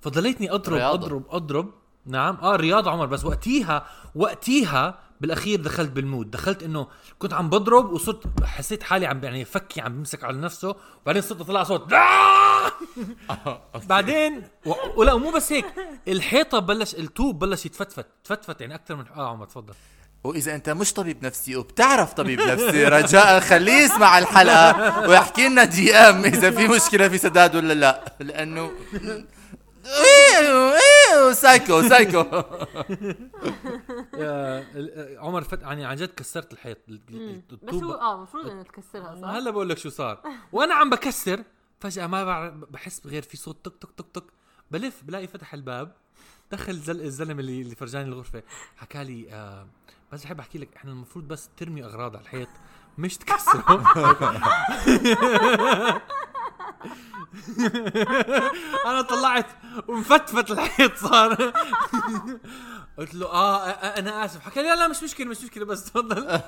Speaker 3: فضليتني اضرب
Speaker 4: رياضة.
Speaker 3: اضرب اضرب نعم اه رياضة عمر بس وقتيها وقتيها بالاخير دخلت بالمود دخلت انه كنت عم بضرب وصرت حسيت حالي عم يعني فكي عم بمسك على نفسه وبعدين صرت اطلع صوت *laughs* آه! بعدين و... ولا مو بس هيك الحيطه بلش الطوب بلش يتفتفت تفتفت يعني اكثر من اه عمر تفضل
Speaker 4: واذا انت مش طبيب نفسي وبتعرف طبيب نفسي رجاء خليه يسمع الحلقه ويحكي لنا دي ام اذا في مشكله في سداد ولا لا لانه ايوه ايوه سايكو سايكو
Speaker 3: آه، ال- آه، عمر فت... يعني عن جد كسرت الحيط ال- ال-
Speaker 2: بس هو
Speaker 3: الطوب
Speaker 2: اه المفروض انه تكسرها صح؟
Speaker 3: هلا بقول لك شو صار وانا عم بكسر فجاه ما بعرف بحس غير في صوت تك تك تك تك بلف بلاقي فتح الباب دخل زل... الزلمه اللي اللي فرجاني الغرفه حكى لي آه بس بحب احكي لك احنا المفروض بس ترمي اغراض على الحيط مش *laughs* تكسره انا طلعت ومفتفت الحيط صار قلت له اه آه، آه، انا اسف حكى لي لا لا مش مشكله مش مشكله بس تفضل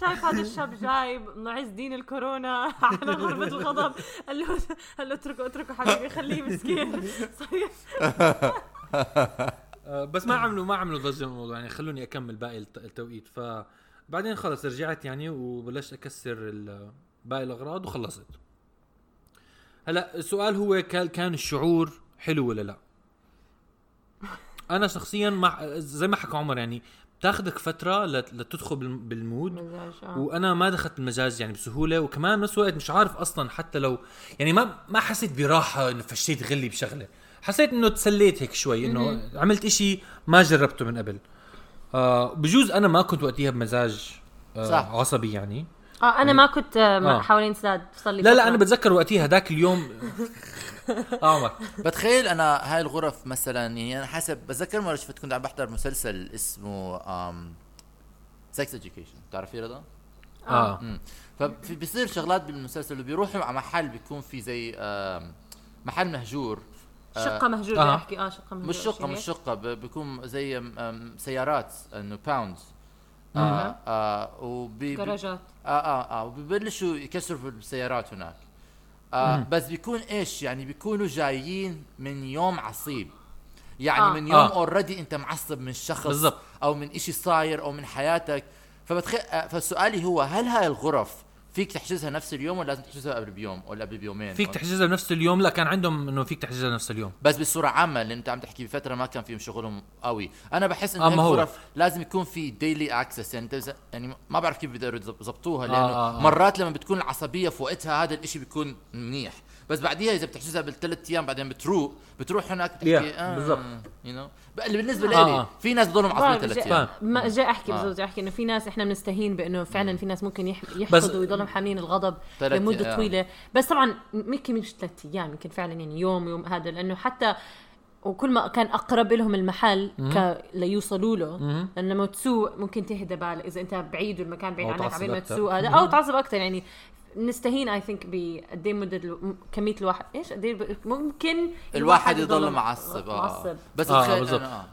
Speaker 2: شايف هذا الشاب جايب معز دين الكورونا *laughs* على غربة الغضب قال له قال له اتركه اتركه حبيبي خليه مسكين *laughs* صحيح
Speaker 3: آه، بس ما عملوا ما عملوا ضجه الموضوع يعني خلوني اكمل باقي الت- التوقيت ف بعدين خلص رجعت يعني وبلشت اكسر ال- باقي الاغراض وخلصت هلا السؤال هو كان كان الشعور حلو ولا لا انا شخصيا مع زي ما حكى عمر يعني بتاخذك فتره لت- لتدخل بالم- بالمود وانا آه. ما دخلت المجاز يعني بسهوله وكمان بنفس الوقت مش عارف اصلا حتى لو يعني ما ما حسيت براحه انه فشيت غلي بشغله حسيت انه تسليت هيك شوي انه عملت إشي ما جربته من قبل آه بجوز انا ما كنت وقتها بمزاج آه
Speaker 4: صح.
Speaker 3: عصبي يعني
Speaker 2: اه انا ما كنت آه، مع
Speaker 3: آه.
Speaker 2: حوالين سداد صار لي
Speaker 3: لا لا
Speaker 2: فترة.
Speaker 3: انا بتذكر وقتها هذاك اليوم آه، عمر
Speaker 4: بتخيل انا هاي الغرف مثلا يعني انا حسب بتذكر مره شفت كنت عم بحضر مسلسل اسمه أم سكس اديوكيشن بتعرفيه رضا؟
Speaker 3: اه
Speaker 4: مم. فبيصير شغلات بالمسلسل وبيروحوا على محل بيكون في زي آم، محل مهجور آه،
Speaker 2: شقة مهجورة
Speaker 3: آه.
Speaker 2: آه. احكي اه شقة مهجورة
Speaker 4: مش شقه
Speaker 2: شيء
Speaker 4: مش
Speaker 2: هيك.
Speaker 4: شقه ب- بيكون زي أم، أم، سيارات انه باوند
Speaker 2: مهم.
Speaker 4: آه آه وبي بي-
Speaker 2: جراجات
Speaker 4: اه اه اه وببلشوا يكسروا في السيارات هناك آه بس بيكون ايش يعني بيكونوا جايين من يوم عصيب يعني
Speaker 2: آه.
Speaker 4: آه. من يوم
Speaker 3: آه.
Speaker 4: اوريدي انت معصب من شخص
Speaker 3: بالضبط.
Speaker 4: او من إشي صاير او من حياتك فبتخ... آه، فسؤالي هو هل هاي الغرف فيك تحجزها نفس اليوم ولا لازم تحجزها قبل بيوم ولا قبل بيومين
Speaker 3: فيك تحجزها بنفس اليوم لا كان عندهم انه فيك تحجزها بنفس اليوم
Speaker 4: بس بصوره عامه اللي انت عم تحكي بفتره ما كان فيهم شغلهم قوي انا بحس انه
Speaker 3: أما
Speaker 4: هيك
Speaker 3: هو.
Speaker 4: غرف لازم يكون في ديلي اكسس يعني انت إذا- يعني ما بعرف كيف بيقدروا يظبطوها لانه
Speaker 3: آه،
Speaker 4: آه
Speaker 3: آه.
Speaker 4: آه. مرات لما بتكون العصبيه في وقتها هذا الاشي بيكون منيح بس بعديها اذا بتحجزها بالثلاث ايام بعدين بتروق بتروح هناك آه، بتحكي
Speaker 3: Yeah، بالضبط.
Speaker 4: يو نو اللي بالنسبه لي
Speaker 3: آه، آه.
Speaker 4: في ناس بضلهم عصبيين
Speaker 2: بعرف
Speaker 4: ثلاث
Speaker 2: جاي-
Speaker 4: ايام
Speaker 3: أيام.
Speaker 2: ما جاي احكي
Speaker 4: آه.
Speaker 2: بالضبط جاي احكي انه في ناس احنا بنستهين بانه فعلا في ناس ممكن يح-
Speaker 3: بس-
Speaker 2: يحفظوا ويضلهم حاملين الغضب
Speaker 4: تلات
Speaker 2: لمده
Speaker 4: أيام.
Speaker 2: طويله بس طبعا يمكن مش ثلاث ايام يمكن فعلا يعني يوم يوم هذا لانه حتى وكل ما كان اقرب لهم المحل ك... ليوصلوا له لانه لما تسوق ممكن تهدى بالك اذا انت بعيد والمكان بعيد
Speaker 3: أو
Speaker 2: عنك
Speaker 3: تعصب
Speaker 2: عبين ما
Speaker 3: أكتر.
Speaker 2: تسوق هذا او تعصب اكثر يعني نستهين اي ثينك بقد ايه مده الو- م- كميه الواحد ايش قد ايه ب- ممكن
Speaker 4: الواحد يضل معصب اه
Speaker 2: معصب
Speaker 4: بس
Speaker 3: آه،
Speaker 4: تخيل
Speaker 3: بالضبط.
Speaker 4: أنا- آه.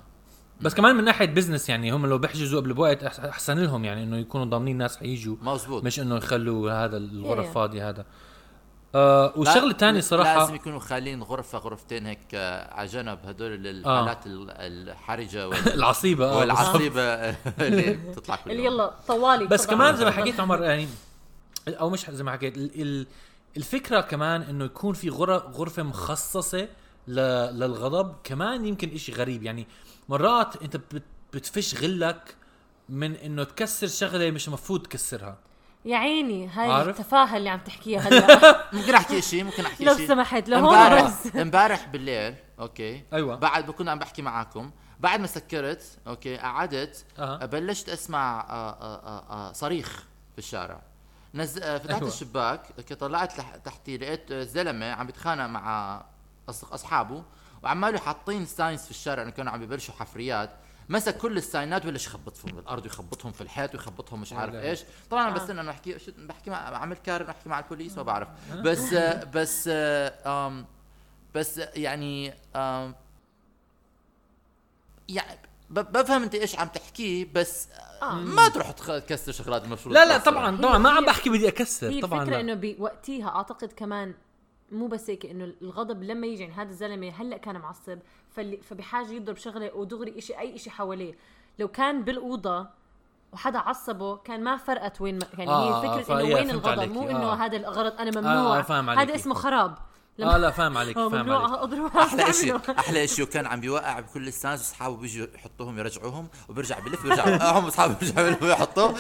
Speaker 3: بس كمان من ناحيه بزنس يعني هم لو بيحجزوا قبل بوقت أح- احسن لهم يعني انه يكونوا ضامنين ناس حيجوا
Speaker 4: مزبوط
Speaker 3: مش انه يخلوا هذا الغرف
Speaker 2: Yeah, yeah.
Speaker 3: فاضي هذا آه
Speaker 4: لا،
Speaker 3: والشغله الثانيه
Speaker 4: لا- لازم
Speaker 3: صراحه
Speaker 4: يكونوا خالين غرفه غرفتين هيك آه، على جنب هدول الحالات ال- الحرجه وال-
Speaker 3: العصيبه آه،
Speaker 4: والعصيبه اللي بتطلع كل
Speaker 2: اللي
Speaker 4: يوم.
Speaker 2: يلا طوالي
Speaker 3: طيب. بس
Speaker 2: آه، طبعاً.
Speaker 3: كمان زي ما حكيت عمر يعني او مش زي ما حكيت ال- ال- الفكره كمان انه يكون في غر- غرفه مخصصه ل- للغضب كمان يمكن إشي غريب يعني مرات انت بت- بتفش غلك من انه تكسر شغله مش مفروض تكسرها
Speaker 2: يا عيني هاي
Speaker 3: عارف؟
Speaker 2: التفاهه اللي عم تحكيها
Speaker 3: *laughs*
Speaker 2: هلا
Speaker 4: ممكن احكي شيء ممكن احكي
Speaker 2: لو
Speaker 4: شيء
Speaker 2: سمحت لهون
Speaker 4: امبارح
Speaker 3: *laughs*
Speaker 2: بس *laughs*
Speaker 4: امبارح بالليل اوكي
Speaker 3: أيوة.
Speaker 4: بعد ما كنا عم بحكي معاكم بعد ما سكرت اوكي قعدت
Speaker 3: أها.
Speaker 4: بلشت اسمع آه، آه، آه، آه، صريخ بالشارع نز... آه، فتحت
Speaker 3: أيوة.
Speaker 4: أيوة. الشباك اوكي طلعت لح... تحتي لقيت آه، زلمه عم بيتخانق مع أص... اصحابه وعماله حاطين ساينز في الشارع انه كانوا عم ببلشوا حفريات مسك كل الساينات وبلش يخبطهم بالارض ويخبطهم في الحيط ويخبطهم مش عارف
Speaker 3: لا.
Speaker 4: ايش طبعا
Speaker 2: آه.
Speaker 4: بس انه بحكي شو- بحكي مع عامل كارن بحكي مع البوليس ما بعرف بس آه، بس آه، آم، بس يعني آم، يعني ب- بفهم انت ايش عم تحكيه بس
Speaker 2: آه.
Speaker 4: ما تروح تخ- تكسر شغلات المفروض
Speaker 3: لا لا
Speaker 4: تكسر.
Speaker 3: طبعا طبعا ما عم
Speaker 2: هي-
Speaker 3: بحكي بدي
Speaker 2: هي
Speaker 3: اكسر طبعا
Speaker 2: الفكره
Speaker 3: لا
Speaker 2: انه بوقتيها اعتقد كمان مو بس هيك انه الغضب لما يجي عند هذا الزلمه هلا كان معصب فاللي فبحاجه يضرب شغله ودغري إشي اي إشي حواليه لو كان بالاوضه وحدا عصبه كان ما فرقت وين ما يعني
Speaker 3: آه،
Speaker 2: هي
Speaker 3: فا-
Speaker 2: فكره
Speaker 3: يا،
Speaker 2: انه وين
Speaker 3: فهمت
Speaker 2: الغضب
Speaker 3: عليكي،
Speaker 2: مو
Speaker 3: آه.
Speaker 2: انه هذا الغلط انا ممنوع
Speaker 3: آه، آه، فاهم عليكي.
Speaker 2: هذا اسمه خراب
Speaker 3: اه لا فاهم عليك
Speaker 2: آه،
Speaker 3: فاهم عليك
Speaker 2: ممنوع اضرب *laughs*
Speaker 4: احلى شيء احلى شيء كان عم بيوقع بكل السانز واصحابه بيجوا يحطوهم يرجعوهم وبرجع بلف برجع *laughs* بوقعهم واصحابه بيرجعوا يلفوا يحطوهم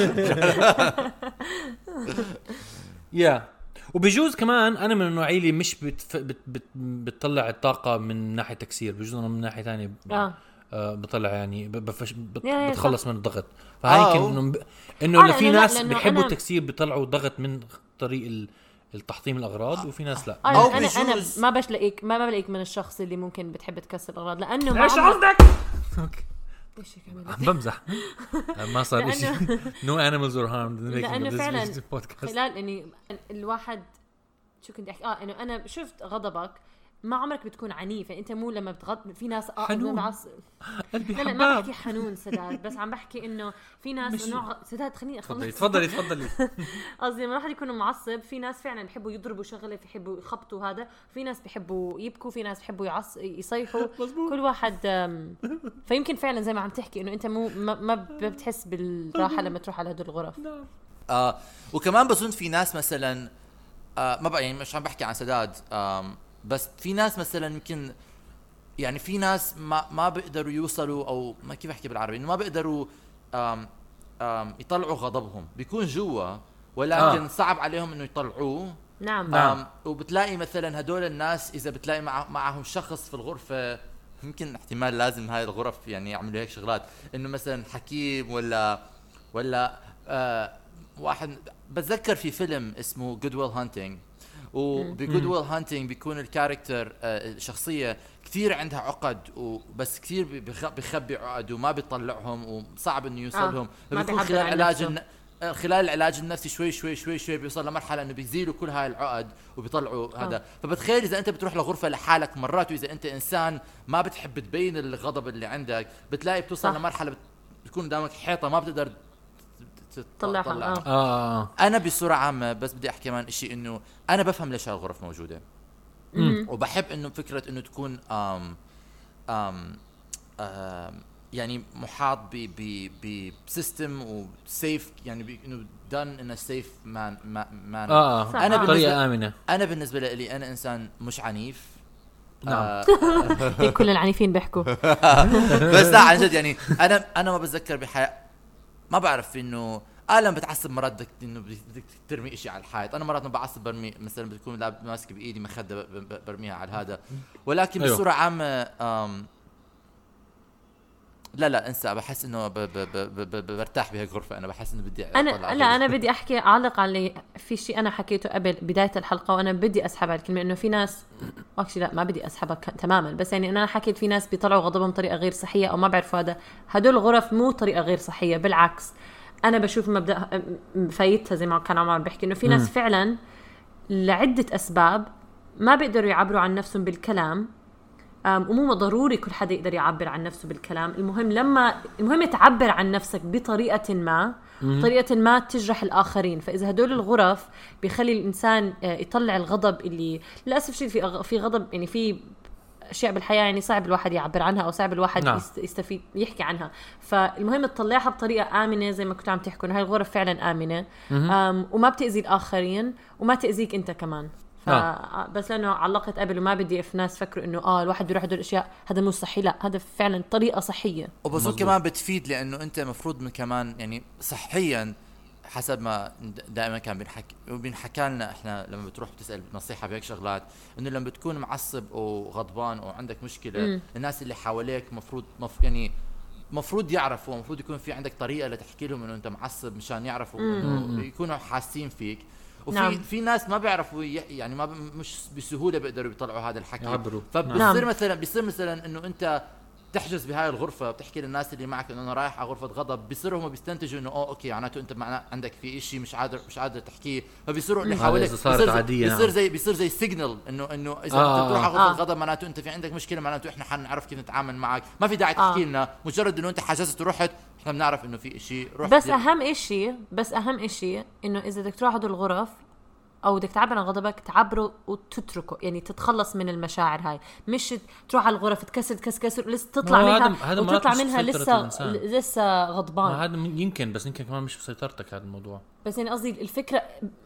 Speaker 3: يا وبجوز كمان انا من النوعيه اللي مش بتف... بت... بت... بتطلع الطاقه من ناحيه تكسير بجوز انا من ناحيه ثانيه ب...
Speaker 2: آه.
Speaker 3: آه بطلع يعني ب... بفش... بت...
Speaker 2: يا- يا،
Speaker 3: بتخلص من الضغط
Speaker 4: آه،
Speaker 3: فهي
Speaker 4: و-
Speaker 3: يمكن انه ب- انه
Speaker 2: آه،
Speaker 3: اللي في
Speaker 2: لأنه لا،
Speaker 3: ناس
Speaker 2: لأنه
Speaker 3: بيحبوا
Speaker 2: أنا-
Speaker 3: التكسير بيطلعوا ضغط من طريق ال... التحطيم الاغراض وفي ناس لا
Speaker 2: انا
Speaker 4: أو
Speaker 2: انا انا
Speaker 4: بجوز.
Speaker 2: ما بلاقيك ما بلاقيك من الشخص اللي ممكن بتحب تكسر الاغراض لانه ما
Speaker 3: ايش
Speaker 2: عمرك-
Speaker 3: قصدك؟ *laughs* أوكي،
Speaker 2: إيش هيك عملت؟
Speaker 3: عم بمزح *laughs* ما صار شيء *laughs* نو انيمالز ار هارم
Speaker 2: لأنه فعلاً
Speaker 3: *laughs* بودكاست
Speaker 2: خلال اني الواحد شو كنت احكي اه انه انا شفت غضبك ما عمرك بتكون عنيف يعني انت مو لما بتغض في ناس اه
Speaker 3: حنون.
Speaker 2: بعص...
Speaker 3: قلبي
Speaker 2: لا لا ما
Speaker 3: حباب
Speaker 2: بحكي حنون سداد بس عم بحكي انه في ناس
Speaker 3: مش-
Speaker 2: نوع سداد خليني
Speaker 3: تفضلي
Speaker 2: اخلص
Speaker 3: تفضلي تفضلي
Speaker 2: قصدي لما الواحد يكون معصب في ناس فعلا بحبوا يضربوا شغله بحبوا يخبطوا هذا في ناس بحبوا يبكوا في ناس بحبوا يعص يصيحوا كل واحد آم، فيمكن فعلا زي ما عم تحكي انه انت مو ما, ما بتحس بالراحه لما تروح على هدول الغرف
Speaker 4: آه وكمان بظن في ناس مثلا آه ما بقى يعني مش عم بحكي عن سداد آم بس في ناس مثلا يمكن يعني في ناس ما ما بيقدروا يوصلوا او ما كيف احكي بالعربي انه ما بيقدروا آم آم يطلعوا غضبهم بيكون جوا ولكن
Speaker 3: آه.
Speaker 4: آه. صعب عليهم انه يطلعوه
Speaker 2: نعم
Speaker 3: نعم.
Speaker 4: آم، وبتلاقي مثلا هدول الناس اذا بتلاقي مع معهم شخص في الغرفه يمكن احتمال لازم هاي الغرف يعني يعملوا هيك شغلات انه مثلا حكيم ولا ولا آه واحد بتذكر في فيلم اسمه جود ويل هانتنج وبجود ويل هانتنج بيكون الكاركتر آه الشخصيه كثير عندها عقد وبس كثير بيخ- بيخبي عقد وما بيطلعهم وصعب انه يوصلهم
Speaker 3: آه.
Speaker 2: ما
Speaker 4: فبيكون
Speaker 2: بيعبر
Speaker 4: خلال
Speaker 2: عن
Speaker 4: علاج
Speaker 2: نفسه.
Speaker 4: الن- آه، خلال العلاج النفسي شوي شوي شوي شوي بيوصل لمرحله انه بيزيلوا كل هاي العقد وبيطلعوا
Speaker 2: آه.
Speaker 4: هذا فبتخيل اذا انت بتروح لغرفه لحالك مرات واذا انت انسان ما بتحب تبين الغضب اللي عندك بتلاقي بتوصل
Speaker 2: صح.
Speaker 4: صح. لمرحله بت... بتكون قدامك حيطه ما بتقدر ت- ت- ت-
Speaker 2: طلعها،
Speaker 4: تطلعها.
Speaker 2: آه.
Speaker 3: اه
Speaker 4: انا بصوره عامه بس بدي احكي كمان شيء انه انا بفهم ليش هالغرف موجوده
Speaker 3: مم.
Speaker 4: وبحب انه فكره انه تكون آم آم آم يعني محاط ب ب بسيستم وسيف يعني ب- انه دان ان سيف مان مان
Speaker 3: اه
Speaker 2: صح. آه. أنا
Speaker 3: انا بطريقه امنه
Speaker 4: انا بالنسبه لي انا انسان مش عنيف
Speaker 3: نعم.
Speaker 4: آه،
Speaker 2: هيك كل العنيفين بيحكوا
Speaker 4: *laughs* بس لا عن جد يعني انا انا ما بتذكر بحياة ما بعرف انه اه لما بتعصب مرات بدك انه بدك ترمي شيء على الحيط، انا مرات ما بعصب برمي مثلا بتكون لعب ماسك بايدي مخده ب- ب- برميها على هذا، ولكن
Speaker 3: أيوة.
Speaker 4: أيوه. بصوره عامه آم لا لا انسى بحس انه ب ب ب ب ب ب برتاح بهيك غرفه انا بحس انه بدي
Speaker 2: انا لا انا بدي احكي اعلق على في شيء انا حكيته قبل بدايه الحلقه وانا بدي اسحب على الكلمه انه في ناس اكشلي لا ما بدي اسحبها ك- تماما بس يعني انا حكيت في ناس بيطلعوا غضبهم بطريقه غير صحيه او ما بعرفوا هذا هدول الغرف مو طريقه غير صحيه بالعكس انا بشوف مبدا م- فايدتها زي ما كان عمر بيحكي انه في ناس فعلا لعده اسباب ما بيقدروا يعبروا عن نفسهم بالكلام أم، ومو ضروري كل حدا يقدر يعبر عن نفسه بالكلام المهم لما المهم تعبر عن نفسك بطريقة ما بطريقة ما تجرح الآخرين فإذا هدول الغرف بيخلي الإنسان آه، يطلع الغضب اللي للأسف شيء في أغ- في غضب يعني في أشياء بالحياة يعني صعب الواحد يعبر عنها أو صعب الواحد
Speaker 3: نعم.
Speaker 2: نعم. يستفيد يحكي عنها فالمهم تطلعها بطريقة آمنة زي ما كنتوا عم تحكوا إنه هاي الغرف فعلا آمنة أم وما بتأذي الآخرين وما تأذيك أنت كمان ف...
Speaker 3: آه.
Speaker 2: بس لانه علقت قبل وما بدي في ناس فكروا انه اه الواحد بيروح هدول الاشياء هذا مو صحي لا هذا فعلا طريقه صحيه
Speaker 4: وبظن
Speaker 3: مظبوط.
Speaker 4: كمان بتفيد لانه انت مفروض من كمان يعني صحيا حسب ما د- دائما كان بينحك وبينحكى لنا احنا لما بتروح بتسال نصيحه بهيك شغلات انه لما بتكون معصب وغضبان وعندك مشكله
Speaker 2: مم.
Speaker 4: الناس اللي حواليك مفروض مف... يعني مفروض يعرفوا مفروض يكون في عندك طريقه لتحكي لهم انه انت معصب مشان يعرفوا انه يكونوا حاسين فيك وفي
Speaker 2: نعم.
Speaker 4: نعم. في ناس ما بيعرفوا ي- يعني ما ب... مش بسهوله بيقدروا يطلعوا هذا الحكي
Speaker 3: يعبروا.
Speaker 2: نعم.
Speaker 4: فبصير مثلا بصير مثلا انه انت تحجز بهاي الغرفة بتحكي للناس اللي معك انه انا رايح على غرفة غضب بصيروا هم بيستنتجوا انه اوه اوكي معناته انت معنا عندك في إشي مش قادر مش قادر تحكيه فبيصيروا اللي
Speaker 3: هذا
Speaker 4: حواليك
Speaker 3: إذا صارت
Speaker 4: بصير زي-
Speaker 3: عادية،
Speaker 4: بصير
Speaker 3: نعم.
Speaker 4: زي بصير زي سيجنال انه انه اذا
Speaker 3: آه،
Speaker 4: آه
Speaker 3: آه،
Speaker 4: بتروح على
Speaker 2: آه.
Speaker 4: غرفة غضب معناته انت في عندك مشكلة معناته احنا حنعرف كيف نتعامل معك ما في داعي
Speaker 2: آه.
Speaker 4: تحكي لنا مجرد انه انت حجزت ورحت احنا بنعرف انه في إشي رحت
Speaker 2: بس
Speaker 4: لل-
Speaker 2: اهم اشي بس اهم اشي انه اذا بدك تروح هدول الغرف او بدك تعبر عن غضبك تعبره وتتركه يعني تتخلص من المشاعر هاي مش تروح على الغرف تكسر تكسر تكسر لسه تطلع
Speaker 3: ما هو
Speaker 2: منها
Speaker 3: هذا- هذا مرات
Speaker 2: وتطلع
Speaker 3: مش
Speaker 2: منها
Speaker 3: سيطرة
Speaker 2: لسه
Speaker 3: الإنسان.
Speaker 2: لسه غضبان
Speaker 3: ما هذا من- يمكن بس يمكن كمان مش بسيطرتك هذا الموضوع
Speaker 2: بس يعني قصدي الفكره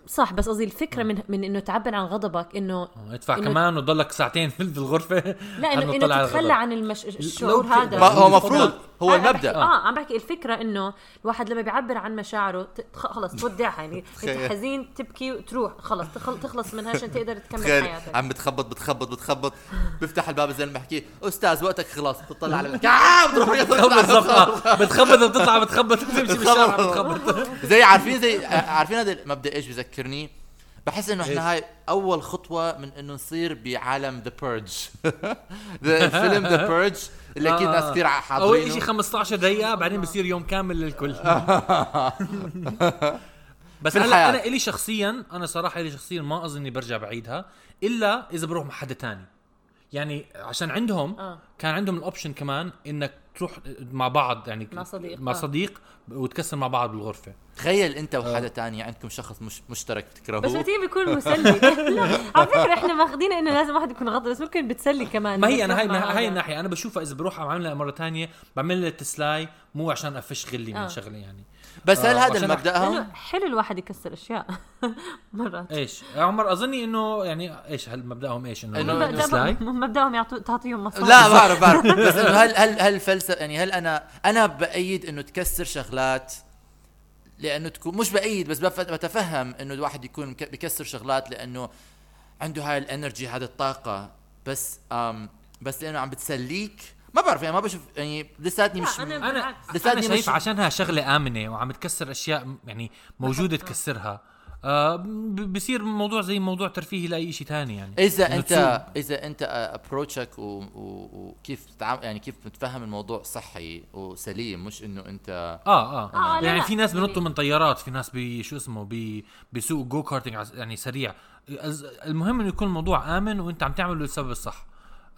Speaker 2: صح بس قصدي الفكره
Speaker 3: نعم.
Speaker 2: من من انه تعبر عن غضبك انه
Speaker 3: آه، ادفع
Speaker 2: إنه-
Speaker 3: كمان وتضلك ساعتين في الغرفه
Speaker 2: لا
Speaker 3: قبل ما
Speaker 2: انه
Speaker 3: تطلع
Speaker 2: انه
Speaker 3: على
Speaker 2: تتخلى
Speaker 3: الغضب.
Speaker 2: عن المش... الشعور
Speaker 3: ت-
Speaker 2: هذا
Speaker 4: ما هو
Speaker 3: هو آه.
Speaker 4: مفروض
Speaker 3: المفروض.
Speaker 2: أنا
Speaker 4: هو
Speaker 2: عم بحكي-
Speaker 4: المبدأ
Speaker 2: اه عم بحكي الفكره انه الواحد لما بيعبر عن مشاعره ت- خ- خلص تودعها يعني انت
Speaker 4: *laughs* تخيل.
Speaker 2: حزين تبكي وتروح خلص تخل... تخلص منها عشان تقدر تكمل
Speaker 4: تخيل
Speaker 2: حياتك
Speaker 4: عم بتخبط بتخبط بتخبط بفتح الباب زي ما بحكي استاذ وقتك خلاص بتطلع على المكان آه، بتروح
Speaker 3: بالضبط
Speaker 4: *laughs*
Speaker 3: آه. بتخبط بتطلع بتخبط بتمشي بالشارع بتخبط
Speaker 4: زي عارفين زي عارفين هذا المبدا ايش بذكرني بحس انه احنا هاي اول خطوه من انه نصير بعالم ذا بيرج *laughs* الفيلم ذا بيرج اللي اكيد ناس كثير
Speaker 3: اول شيء
Speaker 4: حاضرينه
Speaker 3: 15 دقيقه بعدين بصير يوم كامل
Speaker 4: *laughs*
Speaker 3: للكل بس
Speaker 4: في
Speaker 3: هلا
Speaker 4: الحياة.
Speaker 3: انا الي شخصيا انا صراحه الي شخصيا ما اظني برجع بعيدها الا اذا بروح مع حدا تاني يعني عشان عندهم
Speaker 2: آه.
Speaker 3: كان عندهم الاوبشن كمان انك تروح مع بعض يعني
Speaker 2: مع صديق،
Speaker 3: مع
Speaker 2: آه.
Speaker 3: صديق وتكسر مع بعض بالغرفه
Speaker 4: تخيل انت وحدا تاني عندكم شخص مش مشترك
Speaker 2: بس
Speaker 4: بتكرهوه
Speaker 2: متين بيكون
Speaker 4: *laughs*
Speaker 2: مسلي *laughs* لا على فكره احنا ماخذين انه لازم واحد يكون غضب بس ممكن بتسلي كمان
Speaker 3: ما هي انا هاي
Speaker 2: بتروح مع
Speaker 3: هاي
Speaker 2: هذا.
Speaker 3: الناحيه انا بشوفها اذا بروح عاملها مره تانية بعمل لها تسلاي مو عشان افش غلي
Speaker 2: آه.
Speaker 3: من شغله يعني
Speaker 4: بس هل
Speaker 3: آه،
Speaker 4: هذا
Speaker 3: عشان
Speaker 4: المبدا
Speaker 2: لأنه حلو الواحد يكسر اشياء *laughs* مرات
Speaker 3: ايش عمر اظني انه يعني ايش هل مبداهم ايش انه
Speaker 4: إنه-
Speaker 3: مبدأ
Speaker 4: مبدأ-
Speaker 3: تسلاي
Speaker 2: مبداهم يعطوا تعطيهم مصاري
Speaker 4: لا بعرف بعرف بس انه هل هل هل فلسفه يعني هل انا انا بايد انه تكسر شغلات لانه تكون مش بايد بس بف- بتفهم انه الواحد يكون مك- بكسر شغلات لانه عنده هاي الانرجي هذه الطاقه بس أم بس لانه عم بتسليك ما بعرف يعني ما بشوف يعني لساتني مش
Speaker 2: لا، أنا-
Speaker 3: انا
Speaker 4: بالعكس.
Speaker 3: انا
Speaker 4: مش-
Speaker 3: شايف عشانها شغله امنه وعم تكسر اشياء م- يعني موجوده تكسرها آه ب- بصير موضوع زي موضوع ترفيهي لاي شيء تاني يعني
Speaker 4: اذا
Speaker 3: إنه
Speaker 4: انت اذا انت ابروتشك وكيف تتعامل يعني كيف بتفهم الموضوع صحي وسليم مش انه انت
Speaker 3: اه
Speaker 2: آه،
Speaker 3: اه
Speaker 2: لا،
Speaker 3: يعني
Speaker 2: لا،
Speaker 3: في ناس
Speaker 2: يعني-
Speaker 3: بنطوا من طيارات في ناس بي شو اسمه بي بيسوقوا جو كارتينج عس- يعني سريع از- المهم انه يكون الموضوع امن وانت عم تعمله للسبب الصح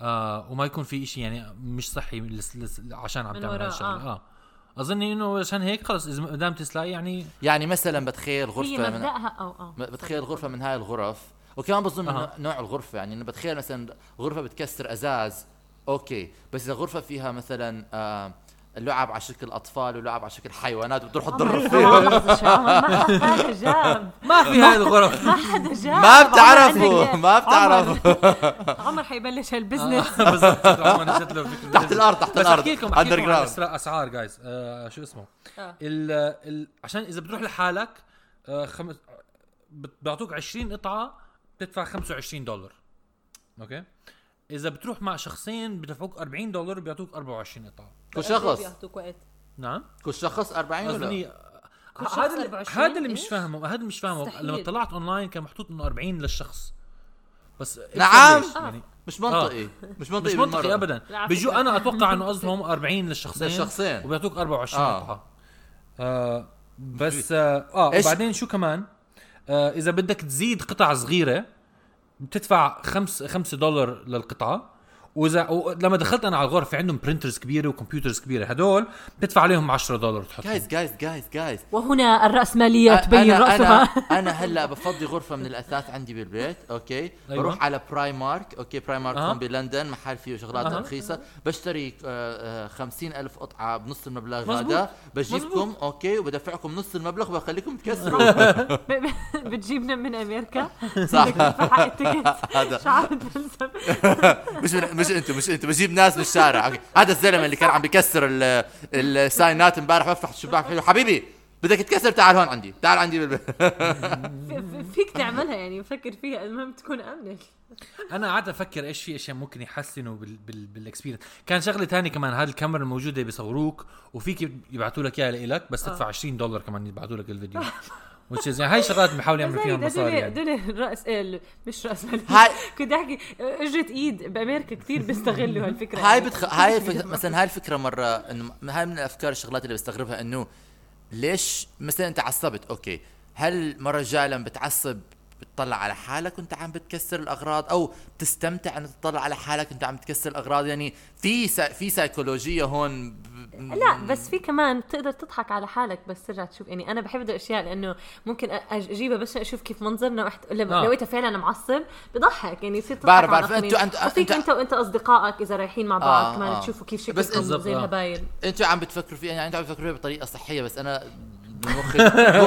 Speaker 3: آه وما يكون في إشي يعني مش صحي لس لس عشان عم
Speaker 2: من
Speaker 3: تعمل
Speaker 2: وراه،
Speaker 3: هاي الشغله
Speaker 2: آه.
Speaker 3: اه, اظن انه عشان هيك خلص اذا ما دام تسلاقي يعني
Speaker 4: يعني مثلا بتخيل
Speaker 2: هي
Speaker 4: غرفه من
Speaker 2: مبداها او اه
Speaker 4: م- بتخيل غرفه من هاي الغرف وكمان بظن
Speaker 3: أها.
Speaker 4: إنه نوع الغرفه يعني انه بتخيل مثلا غرفه بتكسر ازاز اوكي بس اذا غرفه فيها مثلا آه لعب على شكل اطفال ولعب على شكل حيوانات بتروح تضرب فيه
Speaker 2: ما حدا جاب
Speaker 3: *laughs* ما في هاي الغرف
Speaker 2: ما حدا جاب
Speaker 4: ما
Speaker 2: عمر
Speaker 4: بتعرفوا
Speaker 2: عندك-
Speaker 4: ما بتعرفوا
Speaker 2: عمر حيبلش
Speaker 3: *laughs*
Speaker 2: هالبزنس
Speaker 3: بالضبط عمر جت له فكرة.
Speaker 4: تحت الارض تحت
Speaker 3: بس
Speaker 4: الارض
Speaker 3: احكي لكم احكي
Speaker 4: اندر
Speaker 3: لكم عن
Speaker 4: جراوند
Speaker 3: اسرار اسعار جايز آه شو اسمه
Speaker 2: آه.
Speaker 3: ال ال عشان اذا بتروح لحالك آه خمس بت- بيعطوك 20 قطعه بتدفع 25 دولار اوكي اذا بتروح مع شخصين بدفعوك 40 دولار بيعطوك 24 قطعه
Speaker 4: كل آه. شخص
Speaker 3: نعم
Speaker 4: كل شخص 40 ولا
Speaker 3: اظني
Speaker 2: كل شخص
Speaker 3: هذا اللي-
Speaker 2: 24
Speaker 3: هذا اللي مش
Speaker 2: إيش؟
Speaker 3: فاهمه هذا مش فاهمه
Speaker 2: مستحيل.
Speaker 3: لما طلعت اونلاين كان محطوط انه 40 للشخص بس
Speaker 4: نعم.
Speaker 2: آه.
Speaker 3: ليش؟ يعني
Speaker 4: مش منطقي مش منطقي
Speaker 3: مش منطقي
Speaker 4: بالمرة.
Speaker 2: لا،
Speaker 3: ابدا
Speaker 2: على
Speaker 3: بيجوا
Speaker 2: فكرة.
Speaker 3: انا
Speaker 2: *laughs*
Speaker 3: اتوقع انه قصدهم 40 للشخصين
Speaker 4: للشخصين.
Speaker 3: وبيعطوك 24
Speaker 4: آه.
Speaker 3: قطعه آه. بس اه, آه
Speaker 4: إيش؟
Speaker 3: وبعدين شو كمان آه اذا بدك تزيد قطع صغيره بتدفع 5 5 دولار للقطعه واذا و- لما دخلت انا على الغرفه عندهم برنترز كبيره وكمبيوترز كبيره هدول بتدفع عليهم 10 دولار تحطهم
Speaker 4: جايز جايز جايز جايز
Speaker 2: وهنا الرأسمالية تبين
Speaker 4: أنا-
Speaker 2: رأسها
Speaker 3: *laughs*
Speaker 4: انا انا هلا بفضي غرفه من الاثاث عندي بالبيت اوكي
Speaker 3: أيوة.
Speaker 4: بروح على براي مارك اوكي براي مارك
Speaker 3: أها.
Speaker 4: هون بلندن محل فيه شغلات
Speaker 3: أها.
Speaker 4: رخيصه بشتري آه، آه، 50000 ألف قطعه بنص المبلغ
Speaker 3: مزبوط.
Speaker 4: هذا بجيبكم
Speaker 3: مزبوط.
Speaker 4: اوكي وبدفعكم نص المبلغ وبخليكم تكسروا *laughs*
Speaker 2: *laughs* ب- ب- بتجيبنا من أمريكا *laughs*
Speaker 4: صح
Speaker 2: حق التيكت شعار الفلسفة.
Speaker 4: مش من مش انتم مش انتم بجيب ناس من الشارع أوكي. هذا الزلمه اللي كان عم بكسر ال- الساينات امبارح وفتح الشباك حلو حبيبي بدك تكسر تعال هون عندي تعال عندي بالبيت
Speaker 2: في- في- فيك تعملها يعني فكر فيها المهم تكون امنه
Speaker 3: انا قاعد افكر ايش في اشياء ممكن يحسنوا بال بال بالاكسبيرينس كان شغله تانية كمان هذه الكاميرا الموجوده بيصوروك وفيك يبعثوا لك اياها لإلك
Speaker 2: آه.
Speaker 3: بس تدفع 20 دولار كمان يبعثوا لك الفيديو which is- يعني هاي شغلات بحاول
Speaker 2: *laughs*
Speaker 3: يعملوا فيها مصاري يعني
Speaker 2: دول راس ال- مش راس مال
Speaker 4: هاي-
Speaker 2: كنت احكي اجرة ايد بامريكا كثير بيستغلوا هالفكره
Speaker 4: هاي بتخ... هاي الف... مثلا هاي الفكره مره انه م- هاي من الافكار الشغلات اللي بستغربها انه ليش مثلا انت عصبت اوكي هل مره الجايه لما بتعصب بتطلع على حالك وانت عم بتكسر الاغراض او بتستمتع انك تطلع على حالك وانت عم تكسر الاغراض يعني في سا... في سيكولوجيه هون ب...
Speaker 2: لا بس في كمان بتقدر تضحك على حالك بس ترجع تشوف يعني انا بحب هدول الاشياء لانه ممكن أ- أج- اجيبها بس اشوف كيف منظرنا وحت... لما
Speaker 3: آه.
Speaker 2: آه. لقيتها فعلا معصب بضحك يعني يصير تضحك
Speaker 4: بعرف-
Speaker 2: على
Speaker 4: بعرف.
Speaker 2: الآخرين.
Speaker 4: أنتوا- أنتوا-
Speaker 2: وفيك
Speaker 4: أنتوا-
Speaker 2: انت وانت اصدقائك اذا رايحين مع بعض
Speaker 4: آه،
Speaker 2: آه كمان
Speaker 4: آه.
Speaker 2: آه. تشوفوا كيف
Speaker 4: بس
Speaker 2: شكلكم
Speaker 3: بالضبط،
Speaker 2: زي
Speaker 3: آه.
Speaker 2: الهبايل
Speaker 4: انتوا عم بتفكروا فيها يعني انتوا عم بتفكروا فيها بطريقه صحيه بس انا مخي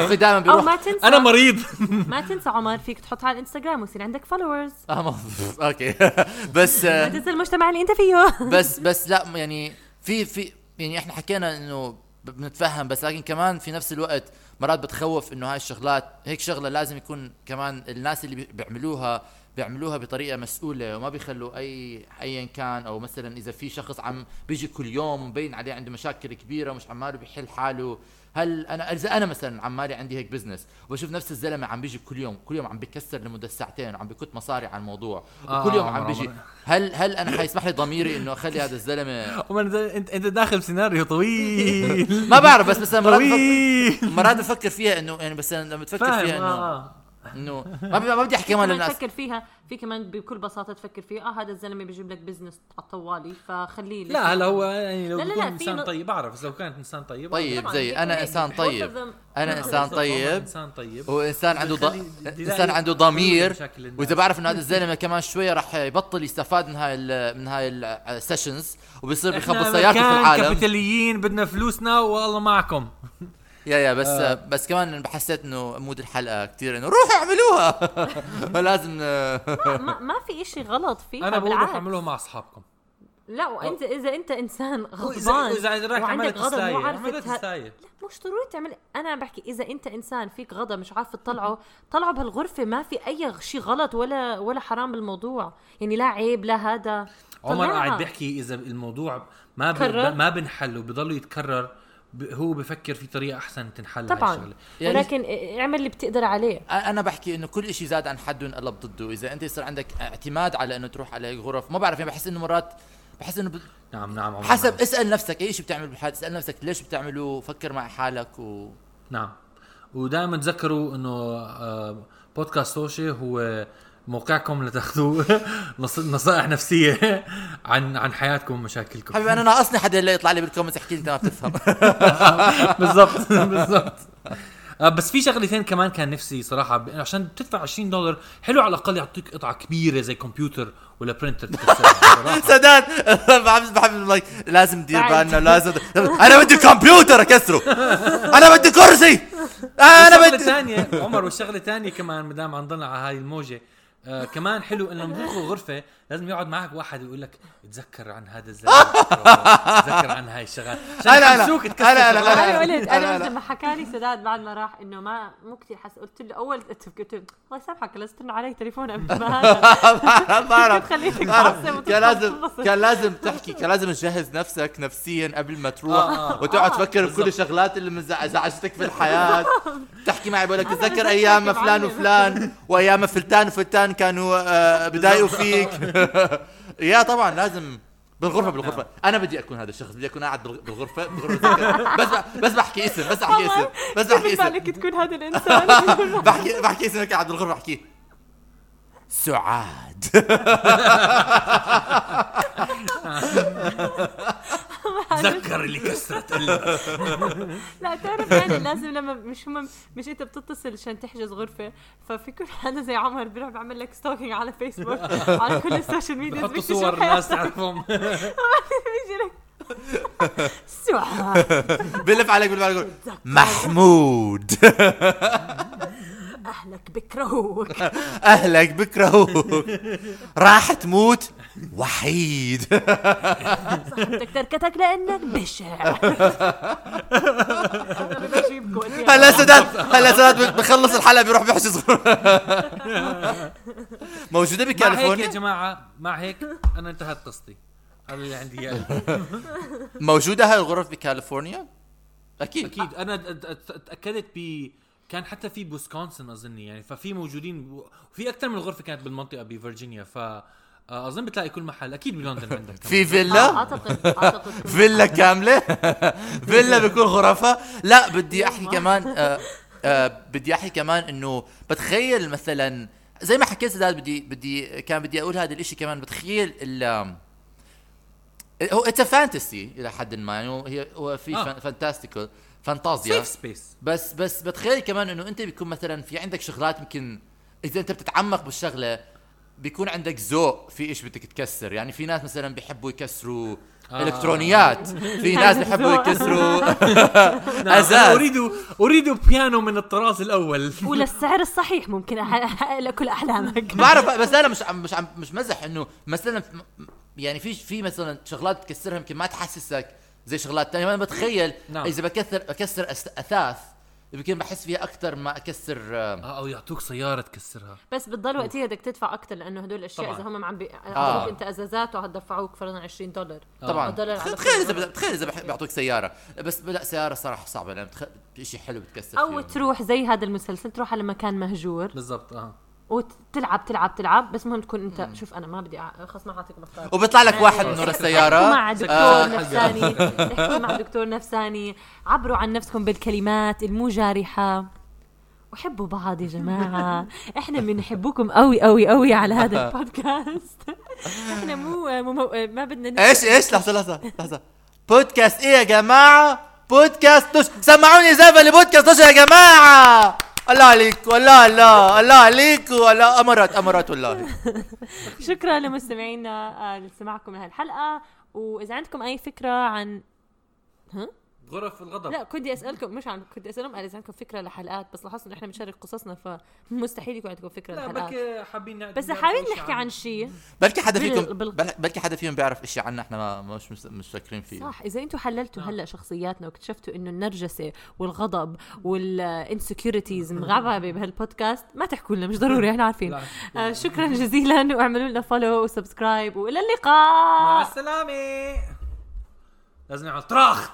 Speaker 4: مخي دائما
Speaker 2: او *laughs*
Speaker 4: بيروح *laughs*
Speaker 2: ما تنسى
Speaker 3: انا مريض *laughs*
Speaker 2: ما تنسى عمر فيك تحطها على الانستغرام ويصير عندك فولورز
Speaker 4: اه *laughs* مظبوط. اوكي
Speaker 2: *laughs*
Speaker 4: بس
Speaker 2: ما تنسى المجتمع اللي انت فيه
Speaker 4: بس بس لا يعني في في يعني احنا حكينا انه بنتفهم بس لكن كمان في نفس الوقت مرات بتخوف انه هاي الشغلات هيك شغله لازم يكون كمان الناس اللي بي- بيعملوها بيعملوها بطريقه مسؤوله وما بيخلوا اي ايا كان او مثلا اذا في شخص عم بيجي كل يوم ومبين عليه عنده مشاكل كبيره ومش عماله بيحل حاله هل انا اذا انا مثلا عمالي عندي هيك بزنس وبشوف نفس الزلمه عم بيجي كل يوم كل يوم عم بكسر لمده ساعتين وعم بكت مصاري على الموضوع
Speaker 3: آه،
Speaker 4: وكل يوم عم
Speaker 3: عمر،
Speaker 4: بيجي
Speaker 3: عمر.
Speaker 4: هل هل انا حيسمح لي ضميري انه اخلي هذا الزلمه
Speaker 3: ومن ذا- انت انت داخل سيناريو
Speaker 2: *laughs*
Speaker 3: طويل
Speaker 4: ما بعرف بس مثلا مرات بفكر
Speaker 3: طويل
Speaker 4: مرات بفكر فيها انه يعني بس لما بتفكر فيها
Speaker 3: فاهم
Speaker 4: انه
Speaker 3: آه.
Speaker 4: انه ما بدي- ما بدي احكي
Speaker 2: *laughs*
Speaker 4: كمان
Speaker 2: كمان
Speaker 4: للناس
Speaker 2: تفكر فيها في كمان بكل بساطه تفكر فيها اه هذا الزلمه بيجيب لك بزنس على الطوالي فخليه لك.
Speaker 3: لا هلا هو يعني لو
Speaker 2: لا، لا،
Speaker 3: بيكون
Speaker 2: لا، في
Speaker 3: انسان
Speaker 2: نو-
Speaker 3: طيب بعرف إذا لو كانت انسان طيب آه،
Speaker 4: طيب
Speaker 2: طبعاً، إيه،
Speaker 4: زي
Speaker 2: هيك
Speaker 4: انا
Speaker 2: وهيك.
Speaker 4: انسان
Speaker 2: Both of
Speaker 4: طيب
Speaker 2: them- *laughs*
Speaker 4: انا انسان
Speaker 3: بالضبط، والله
Speaker 4: طيب
Speaker 3: انسان طيب
Speaker 4: وانسان عنده ض...
Speaker 3: بخلي- بلاقي-
Speaker 4: انسان عنده
Speaker 3: بخلي
Speaker 4: ضمير
Speaker 3: مشاكل الناس.
Speaker 4: واذا بعرف انه هذا الزلمه كمان شوي راح يبطل يستفاد من هاي ال... من هاي السيشنز وبصير بخبط
Speaker 3: إحنا
Speaker 4: سيارته في
Speaker 3: مكان
Speaker 4: العالم
Speaker 3: كابيتاليين بدنا فلوسنا والله معكم
Speaker 4: يا يا بس آه. بس كمان حسيت انه مود الحلقه كثير انه روحوا اعملوها *laughs* لازم آه،
Speaker 2: ما- ما, ما في إشي غلط فيها
Speaker 3: انا بقول روح
Speaker 2: إيه، بالعكس
Speaker 3: اعملوه مع اصحابكم
Speaker 2: لا وانت اذا انت انسان غضبان
Speaker 3: اذا اذا رايح
Speaker 2: وعندك
Speaker 3: عملت
Speaker 2: غضب
Speaker 3: سلاية
Speaker 2: مو عارف
Speaker 3: عملت
Speaker 2: تها-
Speaker 3: سلاية
Speaker 2: لا مش ضروري تعمل انا بحكي اذا انت انسان فيك غضب مش عارف تطلعه طلعه بهالغرفه ما في اي شيء غلط ولا ولا حرام بالموضوع يعني لا عيب لا هذا
Speaker 3: عمر
Speaker 2: طلعها.
Speaker 3: قاعد بيحكي اذا الموضوع ما ب...
Speaker 2: كرر.
Speaker 3: ما بنحل وبضل يتكرر ب... هو بفكر في طريقه احسن تنحل هاي
Speaker 2: طبعا
Speaker 3: الشغله
Speaker 4: يعني-
Speaker 2: ولكن اعمل اللي بتقدر عليه
Speaker 4: انا بحكي انه كل شيء زاد عن حده انقلب ضده اذا انت يصير عندك اعتماد على انه تروح على هيك غرف ما بعرف يعني بحس انه مرات بحس انه ب-
Speaker 3: نعم نعم عمر
Speaker 4: حسب
Speaker 3: نعم.
Speaker 4: اسال نفسك اي شيء بتعمل بالحياه اسال نفسك ليش بتعمله فكر مع حالك و
Speaker 3: نعم ودائما تذكروا انه آه، بودكاست توشي هو موقعكم لتاخذوا *laughs* نص- نصائح نفسيه *laughs* عن عن حياتكم ومشاكلكم
Speaker 4: حبيبي انا ناقصني حدا اللي يطلع لي بالكومنتس يحكي لي انت ما بتفهم *laughs*
Speaker 3: *laughs* بالضبط بالضبط آه، بس في شغلتين كمان كان نفسي صراحه ب- عشان بتدفع 20 دولار حلو على الاقل يعطيك قطعه كبيره زي كمبيوتر ولا برينتر
Speaker 4: *laughs*
Speaker 3: تكسرها صراحه
Speaker 4: سداد *laughs* بحب بحب لايك لازم دير
Speaker 2: بعد.
Speaker 4: بالنا لازم انا بدي كمبيوتر اكسره انا بدي كرسي انا
Speaker 3: والشغلة
Speaker 4: *laughs* بدي
Speaker 3: الثانية عمر والشغلة الثانية كمان مدام عم نضلنا على هاي الموجة آه كمان حلو انه نروحوا غرفة لازم يقعد معك واحد ويقول لك تذكر عن هذا الزلمة تذكر عن هاي الشغلات عشان
Speaker 4: أنا- أنا-
Speaker 3: يحسوك
Speaker 4: أنا-
Speaker 3: تكسر
Speaker 4: أنا-
Speaker 3: شغلات.
Speaker 4: لا،
Speaker 2: انا
Speaker 4: لا،
Speaker 2: قلت
Speaker 4: لا،
Speaker 2: انا
Speaker 4: لا.
Speaker 2: لما حكى لي سداد بعد ما راح انه ما مو كثير حس قلت له اول قلت له الله يسامحك لا ترن علي تليفون قبل ما هذا
Speaker 4: بعرف
Speaker 2: خليتك
Speaker 4: بعرف.
Speaker 2: تعصب
Speaker 4: كان
Speaker 2: *laughs*
Speaker 4: لازم
Speaker 2: وتنبسط.
Speaker 4: كان لازم تحكي كان لازم تجهز نفسك نفسيا قبل ما
Speaker 3: آه،
Speaker 4: تروح وتقعد تفكر بكل الشغلات اللي من زع- زعجتك في الحياه تحكي معي بقول لك تتذكر
Speaker 2: بذكرك
Speaker 4: ايام ما
Speaker 2: يا
Speaker 4: فلان
Speaker 2: معلم.
Speaker 4: وفلان وايام ما فلتان وفلتان كانوا آه، بدايقوا فيك *laughs* يا طبعا لازم
Speaker 3: نعم.
Speaker 4: بالغرفه بالغرفه انا بدي اكون هذا الشخص بدي اكون قاعد بالغ- بالغرفه بالغرفه بتذكر. بس ب- بس بحكي اسم بس بحكي اسم بس بحكي
Speaker 2: كيف
Speaker 4: اسم
Speaker 2: بالك تكون هذا الانسان
Speaker 4: بحكي بحكي اسمك قاعد بالغرفه بحكي سعاد *laughs*
Speaker 3: تذكر اللي كسرت
Speaker 4: *laughs*
Speaker 3: قلبك
Speaker 2: لا تعرف يعني لازم لما مش هم مش انت بتتصل عشان تحجز غرفه ففي كل حدا زي عمر بيروح بيعمل لك ستوكينج على فيسبوك على كل السوشيال ميديا
Speaker 3: بحطوا صور ناس تعرفهم
Speaker 2: *laughs* بيجي لك *laughs* سعاد
Speaker 4: بلف عليك بالبال يقول محمود
Speaker 2: اهلك بكرهوك
Speaker 4: اهلك
Speaker 3: *laughs*
Speaker 4: بكرهوك راح تموت وحيد
Speaker 2: صاحبتك تركتك لانك بشع بجيبكم اليوم.
Speaker 4: هلا سداد هلا سداد بخلص الحلقه بيروح بيحشي
Speaker 3: *laughs*
Speaker 4: صغير موجوده
Speaker 3: مع هيك يا
Speaker 4: بكاليفورنيا
Speaker 3: جماعه مع هيك انا انتهت قصتي هذا اللي عندي
Speaker 4: *laughs*
Speaker 3: اياه
Speaker 4: موجوده هاي الغرف بكاليفورنيا اكيد
Speaker 3: اكيد انا ت- ت- تاكدت ب كان حتى في بوسكونسن اظني يعني ففي موجودين في اكثر من غرفه كانت بالمنطقه بفرجينيا ف اظن بتلاقي كل محل اكيد بلندن عندك
Speaker 4: في
Speaker 2: آه،
Speaker 4: فيلا
Speaker 2: اعتقد اعتقد
Speaker 4: فيلا كامله *laughs* فيلا بكل غرفة لا بدي احكي
Speaker 2: يما.
Speaker 4: كمان آه آه بدي احكي كمان انه بتخيل مثلا زي ما حكيت سداد بدي بدي كان بدي اقول هذا الاشي كمان بتخيل ال هو اتس فانتسي الى حد ما يعني هو- هي هو في
Speaker 3: آه.
Speaker 4: فانتاستيكال فانتازيا
Speaker 3: سيف سبيس
Speaker 4: بس بس بتخيل كمان انه انت بيكون مثلا في عندك شغلات يمكن اذا انت بتتعمق بالشغله بيكون عندك ذوق في ايش بدك تكسر يعني في ناس مثلا بيحبوا يكسروا
Speaker 3: آه.
Speaker 4: الكترونيات
Speaker 3: *laughs*
Speaker 4: في ناس بيحبوا
Speaker 2: ذوق.
Speaker 4: يكسروا *laughs*
Speaker 3: نعم. أنا
Speaker 4: ازاز
Speaker 3: اريد اريد بيانو من الطراز
Speaker 4: *laughs*
Speaker 3: الاول
Speaker 2: وللسعر الصحيح ممكن احقق لك كل احلامك
Speaker 4: بعرف بس انا مش عم مش عم مش مزح انه مثلا م- يعني في في مثلا شغلات بتكسرها يمكن ما تحسسك زي شغلات تانية انا بتخيل
Speaker 3: نعم.
Speaker 4: اذا بكثر بكسر أس- اثاث يمكن بحس فيها اكثر ما اكسر آم،
Speaker 3: اه او يعطوك سياره تكسرها
Speaker 2: بس بتضل وقتها بدك تدفع اكثر لانه هدول الاشياء
Speaker 3: طبعاً.
Speaker 2: اذا هم عم بي...
Speaker 4: آه.
Speaker 2: آه. انت ازازات وهدفعوك فرضا 20 دولار
Speaker 4: طبعا
Speaker 2: الدولار على
Speaker 4: تخيل اذا
Speaker 2: كل مرة.
Speaker 4: تخيل اذا بح- بيعطوك سياره بس لا سياره صراحه صعبه لان بتخ- شيء حلو بتكسر
Speaker 2: او
Speaker 4: فيه.
Speaker 2: تروح زي هذا المسلسل تروح على مكان مهجور
Speaker 3: بالضبط اه
Speaker 2: وتلعب تلعب تلعب بس مهم تكون انت شوف انا ما بدي أع- خلص ما حاعطيك مختار
Speaker 4: وبيطلع لك واحد من ورا
Speaker 2: احكوا
Speaker 4: السياره
Speaker 2: مع
Speaker 3: آه.
Speaker 2: دكتور نفساني احكوا مع دكتور نفساني عبروا عن نفسكم بالكلمات المو جارحة وحبوا بعض يا جماعة احنا بنحبكم قوي قوي قوي على هذا البودكاست احنا مو ممو... ما بدنا نت-
Speaker 4: ايش ايش لحظه لحظه لحظه بودكاست ايه يا جماعه بودكاست توش سمعوني زفل بودكاست توش يا جماعه الله عليك والله الله الله عليك والله امرت امرت والله
Speaker 2: شكرا لمستمعينا آه، لسماعكم لهالحلقة واذا عندكم اي فكرة عن
Speaker 3: غرف الغضب
Speaker 2: لا كنت اسالكم مش عن كنت اسالهم اذا عندكم فكرة لحلقات بس لاحظت انه احنا بنشارك قصصنا فمستحيل يكون عندكم فكرة
Speaker 3: لا
Speaker 2: لحلقات
Speaker 3: بك حابين نعد-
Speaker 2: بس
Speaker 3: نعرف
Speaker 2: حابين
Speaker 3: إشي
Speaker 2: نحكي عن شيء
Speaker 4: بلكي حدا
Speaker 2: بال-
Speaker 4: فيكم
Speaker 2: بال-
Speaker 4: بل- بلكي حدا فيهم بيعرف اشي عنا احنا ما مش مش- مش فاكرين فيه
Speaker 2: صح اذا انتم حللتوا
Speaker 3: نعم.
Speaker 2: هلا شخصياتنا واكتشفتوا انه النرجسه والغضب
Speaker 3: *laughs*
Speaker 2: والانسكيورتيز مغببه بهالبودكاست ما تحكوا لنا مش ضروري احنا عارفين
Speaker 3: لا.
Speaker 2: آه شكرا جزيلا واعملوا لنا فولو وسبسكرايب والى
Speaker 3: مع
Speaker 2: اللقاء
Speaker 3: السلامه *laughs* لازم نعمل طراخ